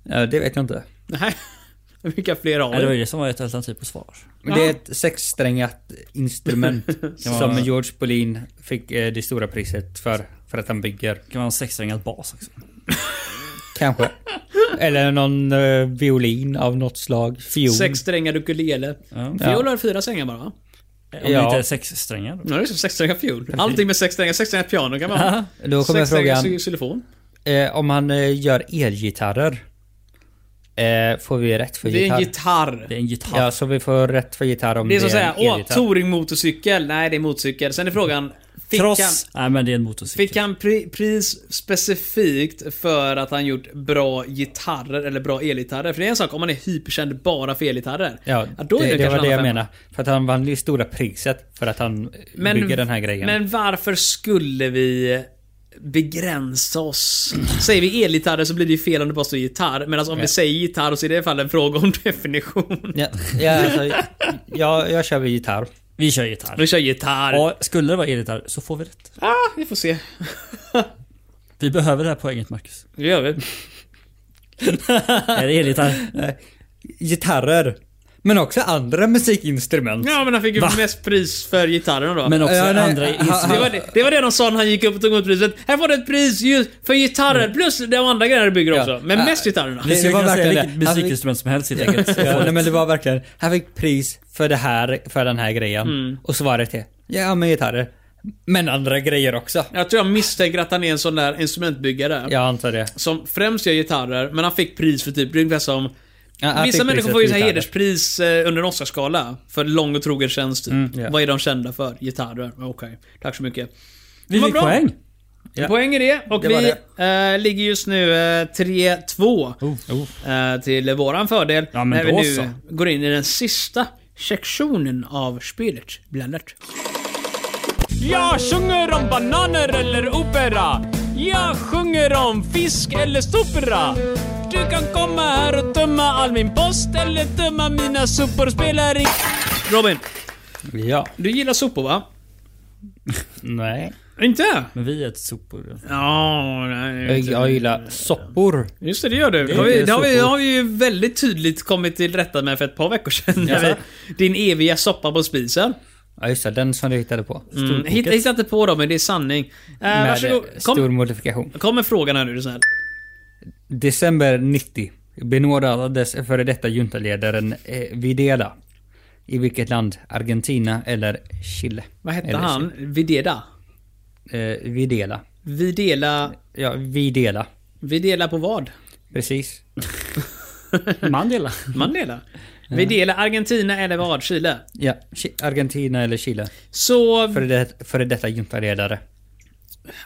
[SPEAKER 3] ja det vet jag inte.
[SPEAKER 1] Nej. Vilka fler har
[SPEAKER 2] Ja, det var ju
[SPEAKER 1] vi?
[SPEAKER 2] det som var ett alternativ på svar.
[SPEAKER 3] Men det är ett sexsträngat instrument som
[SPEAKER 2] man-
[SPEAKER 3] George Bolin fick eh, det stora priset för. För att han bygger.
[SPEAKER 2] Det kan vara en sexsträngad bas också.
[SPEAKER 3] Kanske. Eller någon eh, violin av något slag. Fiol.
[SPEAKER 1] Sex strängar ukulele.
[SPEAKER 2] Ja.
[SPEAKER 1] Fiol har fyra strängar bara va?
[SPEAKER 2] Om
[SPEAKER 3] Ja.
[SPEAKER 2] det inte är sexsträngad.
[SPEAKER 1] Ja, det är så sex strängar fiol. Allting med sex strängar. Sex strängar piano kan man ha.
[SPEAKER 3] Då kommer
[SPEAKER 1] Sex strängar
[SPEAKER 3] frågan.
[SPEAKER 1] xylofon.
[SPEAKER 3] Eh, om han eh, gör elgitarrer. Eh, får vi rätt för
[SPEAKER 1] Det är en
[SPEAKER 3] gitarr?
[SPEAKER 1] gitarr.
[SPEAKER 2] Det är en gitarr.
[SPEAKER 3] Ja, så vi får rätt för gitarr om
[SPEAKER 1] Det är som att säga,
[SPEAKER 3] en
[SPEAKER 1] åh,
[SPEAKER 3] elgitarr.
[SPEAKER 1] Touring motorcykel. Nej, det är motorcykel. Sen är frågan, fick han,
[SPEAKER 2] Cross. Nej men det är en motorcykel.
[SPEAKER 1] fick han pri, pris specifikt för att han gjort bra gitarrer eller bra elgitarrer? För det är en sak om man är hyperkänd bara för elgitarrer.
[SPEAKER 3] Ja,
[SPEAKER 1] är
[SPEAKER 3] det, det
[SPEAKER 1] kanske
[SPEAKER 3] var
[SPEAKER 1] en
[SPEAKER 3] det jag
[SPEAKER 1] annan femma.
[SPEAKER 3] menade. För att han vann det stora priset för att han eh, bygger den här grejen.
[SPEAKER 1] Men varför skulle vi begränsa oss? Säger vi elgitarrer så blir det ju fel om det bara står gitarr. Medan om vi säger gitarr så är det i alla fall en fråga om definition.
[SPEAKER 3] Ja, ja, alltså, jag, jag kör vid gitarr.
[SPEAKER 2] Vi kör gitarr.
[SPEAKER 1] Vi kör gitarr.
[SPEAKER 2] Ja, skulle det vara elgitarr så får vi rätt.
[SPEAKER 1] Ah, vi får se.
[SPEAKER 2] Vi behöver det här poänget Marcus.
[SPEAKER 1] Det gör vi.
[SPEAKER 2] Är det elgitarr?
[SPEAKER 3] Eh, Gitarrer. Men också andra musikinstrument.
[SPEAKER 1] Ja men han fick ju mest pris för gitarren då.
[SPEAKER 2] Men också
[SPEAKER 3] Ja, nej,
[SPEAKER 2] andra
[SPEAKER 3] ha-
[SPEAKER 2] instrument.
[SPEAKER 1] Det var det, det var det de sa när han gick upp och tog emot priset. Här får du ett pris just för
[SPEAKER 3] Mm.
[SPEAKER 1] gitarrer plus de andra grejerna du bygger också.
[SPEAKER 3] Äh,
[SPEAKER 1] Men mest gitarrerna.
[SPEAKER 2] Vi skulle
[SPEAKER 3] Det var
[SPEAKER 2] kunna säga
[SPEAKER 3] verkligen
[SPEAKER 2] vilket
[SPEAKER 3] det. Han fick-
[SPEAKER 2] musikinstrument som helst helt enkelt.
[SPEAKER 3] Ja, nej, men det var
[SPEAKER 1] Mm.
[SPEAKER 3] verkligen, han fick pris för det här, för den här grejen. Och svaret är, ja men gitarrer. Men andra grejer också.
[SPEAKER 1] Jag tror jag misstänker att han är en sån där instrumentbyggare.
[SPEAKER 3] Jag antar det.
[SPEAKER 1] Som främst gör gitarrer, men han fick pris för typ, det är ungefär som
[SPEAKER 3] Ja, han
[SPEAKER 1] Vissa
[SPEAKER 3] fick
[SPEAKER 1] människor
[SPEAKER 3] priset
[SPEAKER 1] får ju
[SPEAKER 3] för
[SPEAKER 1] så här
[SPEAKER 3] gitarrer.
[SPEAKER 1] hederspris eh, under en Oscarsgala. För lång och trogen tjänst typ.
[SPEAKER 3] Mm, ja.
[SPEAKER 1] Vad är de kända för? Gitarrer. Okej. Tack så mycket.
[SPEAKER 3] Vi
[SPEAKER 1] Vad
[SPEAKER 3] fick
[SPEAKER 1] bra.
[SPEAKER 3] poäng. Ja.
[SPEAKER 1] Poäng är det. Och
[SPEAKER 3] Det var
[SPEAKER 1] vi Eh, ligger just nu eh, 3-2
[SPEAKER 3] Oh.
[SPEAKER 1] eh, till våran fördel.
[SPEAKER 2] Ja, men
[SPEAKER 1] när vi
[SPEAKER 2] då
[SPEAKER 1] nu
[SPEAKER 2] så.
[SPEAKER 1] går in i den sista sektionen av spelet. Blandat.
[SPEAKER 7] Jag sjunger om bananer eller opera. Jag sjunger om fisk eller sopra. Du kan komma här och tömma all min post eller tömma mina sopor. Spelar i...
[SPEAKER 1] Robin,
[SPEAKER 3] Ja.
[SPEAKER 1] du gillar sopor va?
[SPEAKER 3] Nej.
[SPEAKER 1] Inte?
[SPEAKER 2] Men vi är ett sopor.
[SPEAKER 1] Ja, nej.
[SPEAKER 3] Jag,
[SPEAKER 1] inte.
[SPEAKER 3] jag gillar soppor.
[SPEAKER 1] Just det, det gör du. Det har, vi, det, har vi, det har vi ju väldigt tydligt kommit till rätta med för ett par veckor sedan. när vi, din eviga soppa på spisen.
[SPEAKER 3] Ja just det, den som du hittade på.
[SPEAKER 1] Mm. Hitta, hitta inte på dem, men det är sanning. Eh,
[SPEAKER 3] Med
[SPEAKER 1] varsågod.
[SPEAKER 3] eh,
[SPEAKER 1] Kom,
[SPEAKER 3] stor modifikation.
[SPEAKER 1] kom med frågan här nu, är du snäll.
[SPEAKER 3] December 90 benådades före detta juntaledaren eh, Videla. I vilket land? Argentina eller Chile?
[SPEAKER 1] Vad hette
[SPEAKER 3] Eller
[SPEAKER 1] han? Videla?
[SPEAKER 3] Eh, Videla.
[SPEAKER 1] Videla...
[SPEAKER 3] Ja, Videla.
[SPEAKER 1] Videla på vad?
[SPEAKER 3] Precis.
[SPEAKER 2] Mandela.
[SPEAKER 1] Mandela? Videla Argentina eller vad? Chile?
[SPEAKER 3] Ja, Chi- Argentina eller Chile.
[SPEAKER 1] Så
[SPEAKER 3] Före, det, före detta juntaledare.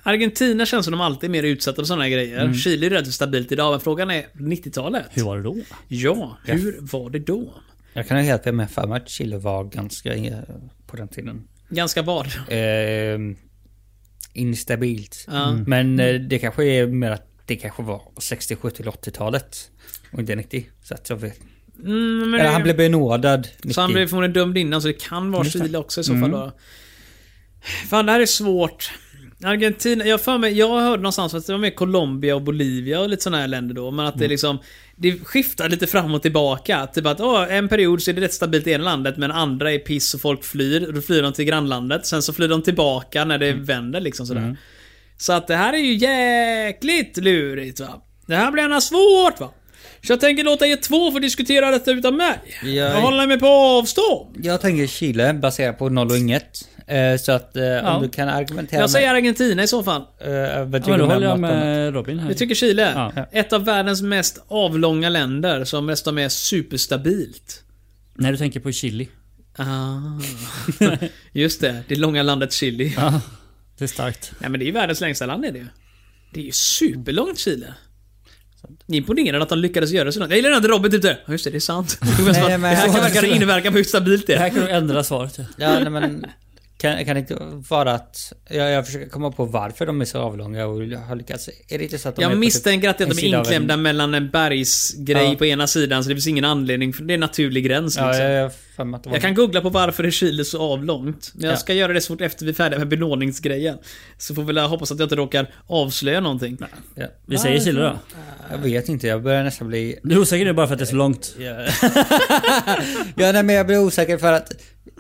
[SPEAKER 1] Argentina känns som de alltid är mer utsatta för sådana grejer.
[SPEAKER 3] Mm.
[SPEAKER 1] Chile är relativt stabilt idag, men frågan är 90-talet?
[SPEAKER 2] Hur var det då?
[SPEAKER 1] Ja, hur var det då?
[SPEAKER 3] Jag kan ha helt fel men jag har för mig att Chile var ganska eh, på den tiden.
[SPEAKER 1] Ganska vad?
[SPEAKER 3] Eh, instabilt.
[SPEAKER 1] Ja.
[SPEAKER 3] Mm. Men eh, det kanske är mer att det kanske var 60, 70 80-talet. Och inte 90. Så att jag vet.
[SPEAKER 1] Mm, men
[SPEAKER 3] Eller han blev benådad 90.
[SPEAKER 1] Så han blev förmodligen dömd innan, så det kan vara Chile också i så fall. Då. Fan, det här är svårt. Argentina, jag har för mig, jag hörde någonstans att det var med Colombia och Bolivia och lite sådana här länder då. Men att det liksom, det skiftar lite fram och tillbaka. Typ att åh, en period så är det rätt stabilt i ena landet, men andra är piss och folk flyr. Och då flyr de till grannlandet. Sen så flyr de tillbaka när det vänder liksom sådär. Så att det här är ju jäkligt lurigt va. Det här blir gärna svårt va. Så jag tänker låta er två få diskutera detta utan mig. Jag håller mig på avstånd.
[SPEAKER 3] Jag tänker Chile baserat på noll och inget. Eh, så att eh, om du kan argumentera
[SPEAKER 1] Jag säger Argentina i så fall.
[SPEAKER 3] med... Eh, vad
[SPEAKER 2] Ja, men då
[SPEAKER 3] du
[SPEAKER 2] håller
[SPEAKER 3] om
[SPEAKER 2] jag
[SPEAKER 3] något annat?
[SPEAKER 2] med Robin här.
[SPEAKER 1] Jag tycker Chile.
[SPEAKER 2] Ja.
[SPEAKER 1] Ett av världens mest avlånga länder som dessutom är superstabilt.
[SPEAKER 2] När du tänker på chili.
[SPEAKER 1] Ah. Just det, det långa landet Chile.
[SPEAKER 2] Det är starkt.
[SPEAKER 1] Nej men det är ju världens längsta land är det ju. Det är ju superlångt Chile. Imponerande att de lyckades göra så långt. Jag gillar att Robin typ där. Ja just det, det är sant. det
[SPEAKER 3] men-
[SPEAKER 1] här kan verkligen inverka på hur stabilt det
[SPEAKER 2] Det
[SPEAKER 1] är.
[SPEAKER 2] här kan du ändra svaret. ja.
[SPEAKER 3] Ja, nej, men... Kan, kan det inte vara att... Jag, jag försöker komma på varför de är så avlånga och jag har lyckats... Är det inte så att de är
[SPEAKER 1] Jag
[SPEAKER 3] på typ
[SPEAKER 1] misstänker att det är
[SPEAKER 3] en
[SPEAKER 1] att de
[SPEAKER 3] sida
[SPEAKER 1] är
[SPEAKER 3] av en-
[SPEAKER 1] inklämda mellan en bergsgrej
[SPEAKER 3] Ja.
[SPEAKER 1] på ena sidan så det finns ingen anledning. För det är en naturlig gräns liksom.
[SPEAKER 3] Ja, jag, jag, har för mig att det var
[SPEAKER 1] Jag kan googla på varför är Chile så avlångt. Men jag
[SPEAKER 3] Ja.
[SPEAKER 1] ska göra det så fort efter vi är färdiga med benådningsgrejen. Så får vi väl hoppas att jag inte råkar avslöja någonting.
[SPEAKER 3] Ja.
[SPEAKER 2] Vi säger chili då.
[SPEAKER 3] Jag vet inte, jag börjar nästan bli...
[SPEAKER 2] Du är osäker nu bara för att det är så långt.
[SPEAKER 3] Ja, nej, men jag blir osäker för att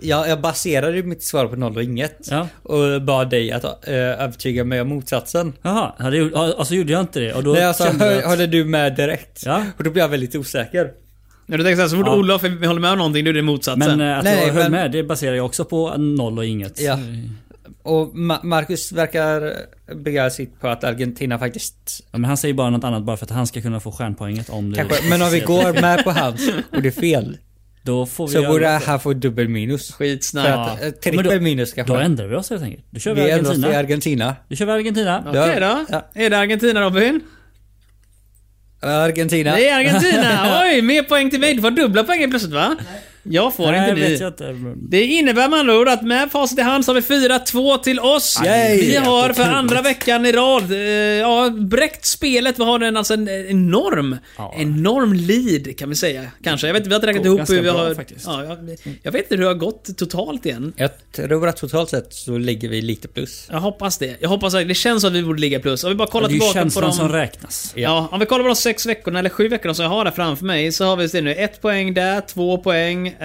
[SPEAKER 3] jag, jag baserade ju mitt svar på noll och inget.
[SPEAKER 2] Ja.
[SPEAKER 3] Och bad dig att eh, övertyga mig om motsatsen.
[SPEAKER 2] Jaha, ja, det gjorde- ja, alltså gjorde jag inte det? Och då
[SPEAKER 3] Nej, alltså,
[SPEAKER 2] kände jag
[SPEAKER 3] hör,
[SPEAKER 2] att-
[SPEAKER 3] håller du med direkt?
[SPEAKER 2] Ja.
[SPEAKER 3] Och då blir jag väldigt osäker.
[SPEAKER 1] Ja, du tänker såhär, så fort
[SPEAKER 2] Ja.
[SPEAKER 1] Olof håller med om någonting, då är det motsatsen.
[SPEAKER 2] Men eh, att
[SPEAKER 3] Nej,
[SPEAKER 2] jag höll
[SPEAKER 3] men-
[SPEAKER 2] med, det baserar jag också på noll och inget.
[SPEAKER 3] Ja. Och Ma- Marcus verkar bygga sitt på att Argentina faktiskt...
[SPEAKER 2] Ja, men han säger bara något annat bara för att han ska kunna få stjärnpoänget om det...
[SPEAKER 3] Kanske, men om vi går med på hans och det är fel,
[SPEAKER 2] Då får vi...
[SPEAKER 3] så
[SPEAKER 2] göra-
[SPEAKER 3] borde han få dubbel minus.
[SPEAKER 1] Skitsnack.
[SPEAKER 3] För att, eh, trippel
[SPEAKER 2] Ja, men då-
[SPEAKER 3] minus
[SPEAKER 2] Då
[SPEAKER 3] kanske.
[SPEAKER 2] ändrar vi oss helt enkelt. Då kör vi
[SPEAKER 3] Vi ändrar oss
[SPEAKER 2] Argentina.
[SPEAKER 3] till Argentina.
[SPEAKER 2] Då kör vi Argentina.
[SPEAKER 1] Okej då.
[SPEAKER 3] Ja.
[SPEAKER 1] Är det Argentina Robin?
[SPEAKER 3] Argentina.
[SPEAKER 1] Det är Argentina! Oj, mer poäng till mig. Du får dubbla poängen plötsligt va? Jag får
[SPEAKER 2] Nej,
[SPEAKER 1] inte
[SPEAKER 2] vet
[SPEAKER 1] ni.
[SPEAKER 2] jag eh, inte. men-
[SPEAKER 1] Det innebär med andra ord att med facit i hand så har vi 4-2 till oss.
[SPEAKER 3] Yay!
[SPEAKER 1] Vi har för andra veckan i rad eh, ja, bräckt spelet. Vi har en, alltså en enorm, enorm lead kan vi säga. Kanske. Jag vet inte, vi har inte räknat
[SPEAKER 2] Går
[SPEAKER 1] ihop
[SPEAKER 2] ganska
[SPEAKER 1] hur vi
[SPEAKER 2] bra,
[SPEAKER 1] har...
[SPEAKER 2] faktiskt.
[SPEAKER 1] Ja, jag, jag vet inte hur det har gått totalt igen.
[SPEAKER 3] Jag tror att totalt sett så ligger vi lite plus.
[SPEAKER 1] Jag hoppas det. Jag hoppas att det känns som att vi borde ligga plus. Om vi bara kollar
[SPEAKER 2] Det är ju
[SPEAKER 1] tillbaka på
[SPEAKER 2] känslan
[SPEAKER 1] dem...
[SPEAKER 2] som räknas.
[SPEAKER 1] Ja, om vi kollar på de sex veckorna, eller sju veckorna som jag har där framför mig, så har vi se nu ett poäng där, två poäng, eh,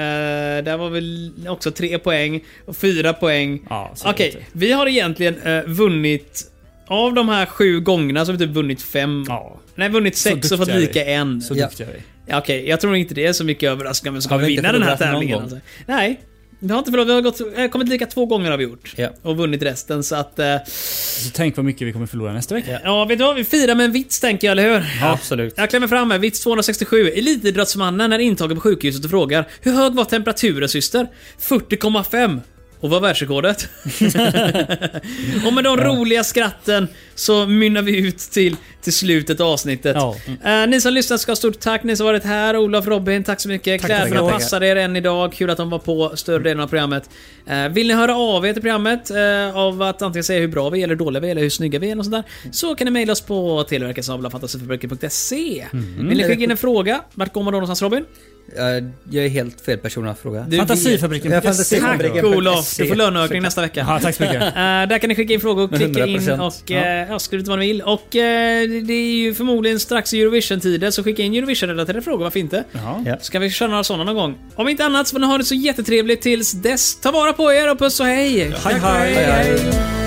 [SPEAKER 1] där var väl också tre poäng, och fyra poäng.
[SPEAKER 2] Ja, så är det
[SPEAKER 1] Okej,
[SPEAKER 2] inte.
[SPEAKER 1] vi har egentligen eh, vunnit, av de här sju gångerna så har vi typ vunnit fem.
[SPEAKER 2] Ja.
[SPEAKER 1] Nej, vunnit sex och fått
[SPEAKER 2] duktiga vi är.
[SPEAKER 1] lika en.
[SPEAKER 2] Så
[SPEAKER 3] Ja.
[SPEAKER 2] duktiga vi är.
[SPEAKER 1] Ja, Okej, jag tror inte det är så mycket överraskande men som
[SPEAKER 3] Har vi
[SPEAKER 1] kommer
[SPEAKER 3] inte
[SPEAKER 1] vinna den här
[SPEAKER 3] förlorat någon
[SPEAKER 1] tävlingen.
[SPEAKER 3] gång?
[SPEAKER 1] Alltså. Nej, Vi har inte förlorat, vi har gått, eh, kommit lika två gånger har vi gjort.
[SPEAKER 3] Ja.
[SPEAKER 1] Och vunnit resten så att... Eh,
[SPEAKER 2] Så tänk vad mycket vi kommer förlora nästa vecka.
[SPEAKER 1] ja, vet du vad? Vi firar med en vits tänker jag, eller hur?
[SPEAKER 3] Absolut.
[SPEAKER 1] Jag klämmer fram här, vits 267. Elitidrottsmannen är intagen på sjukhuset och frågar Hur hög var temperaturen syster? 40,5. Och vad är världsrekordet? och med de roliga skratten så mynnar vi ut till, till slutet av avsnittet.
[SPEAKER 3] Ja.
[SPEAKER 1] Eh, ni som lyssnat ska ha stort tack, ni som varit här. Olof, Robin, tack så mycket.
[SPEAKER 3] Tack, tack,
[SPEAKER 1] Kläderna
[SPEAKER 3] tack.
[SPEAKER 1] passade er än idag. Kul att de var på större delen av programmet. Eh, vill ni höra av er till programmet eh, av att antingen säga hur bra vi är, eller hur dåliga vi är, eller hur snygga vi är, och sådär, så kan ni mejla oss på televerketsavlafantasiförbruket.se.
[SPEAKER 3] Mm.
[SPEAKER 1] Vill ni skicka in en fråga? Vart går man då någonstans Robin?
[SPEAKER 3] Eh, Jag är helt fel person att fråga.
[SPEAKER 1] Du vet.
[SPEAKER 2] Fantasifabriken.
[SPEAKER 3] Ja, fantasifabriken.
[SPEAKER 1] Tack Olof! Du får löneökning nästa vecka.
[SPEAKER 2] Ja, tack så mycket.
[SPEAKER 1] Eh, där kan ni skicka in frågor och
[SPEAKER 3] Med
[SPEAKER 1] klicka in
[SPEAKER 3] 100%.
[SPEAKER 1] och eh, ja. skriv ut vad ni vill. Och eh, det är ju förmodligen strax Eurovision-tider, så skicka in Eurovision-relaterade frågor, varför inte?
[SPEAKER 2] Jaha.
[SPEAKER 3] Ja.
[SPEAKER 1] Så kan vi köra några sådana någon gång. Om inte annat så får ni ha det så jättetrevligt tills dess. Ta vara på er och puss och hej!
[SPEAKER 2] hej. hej, hej.
[SPEAKER 3] Hej, hej.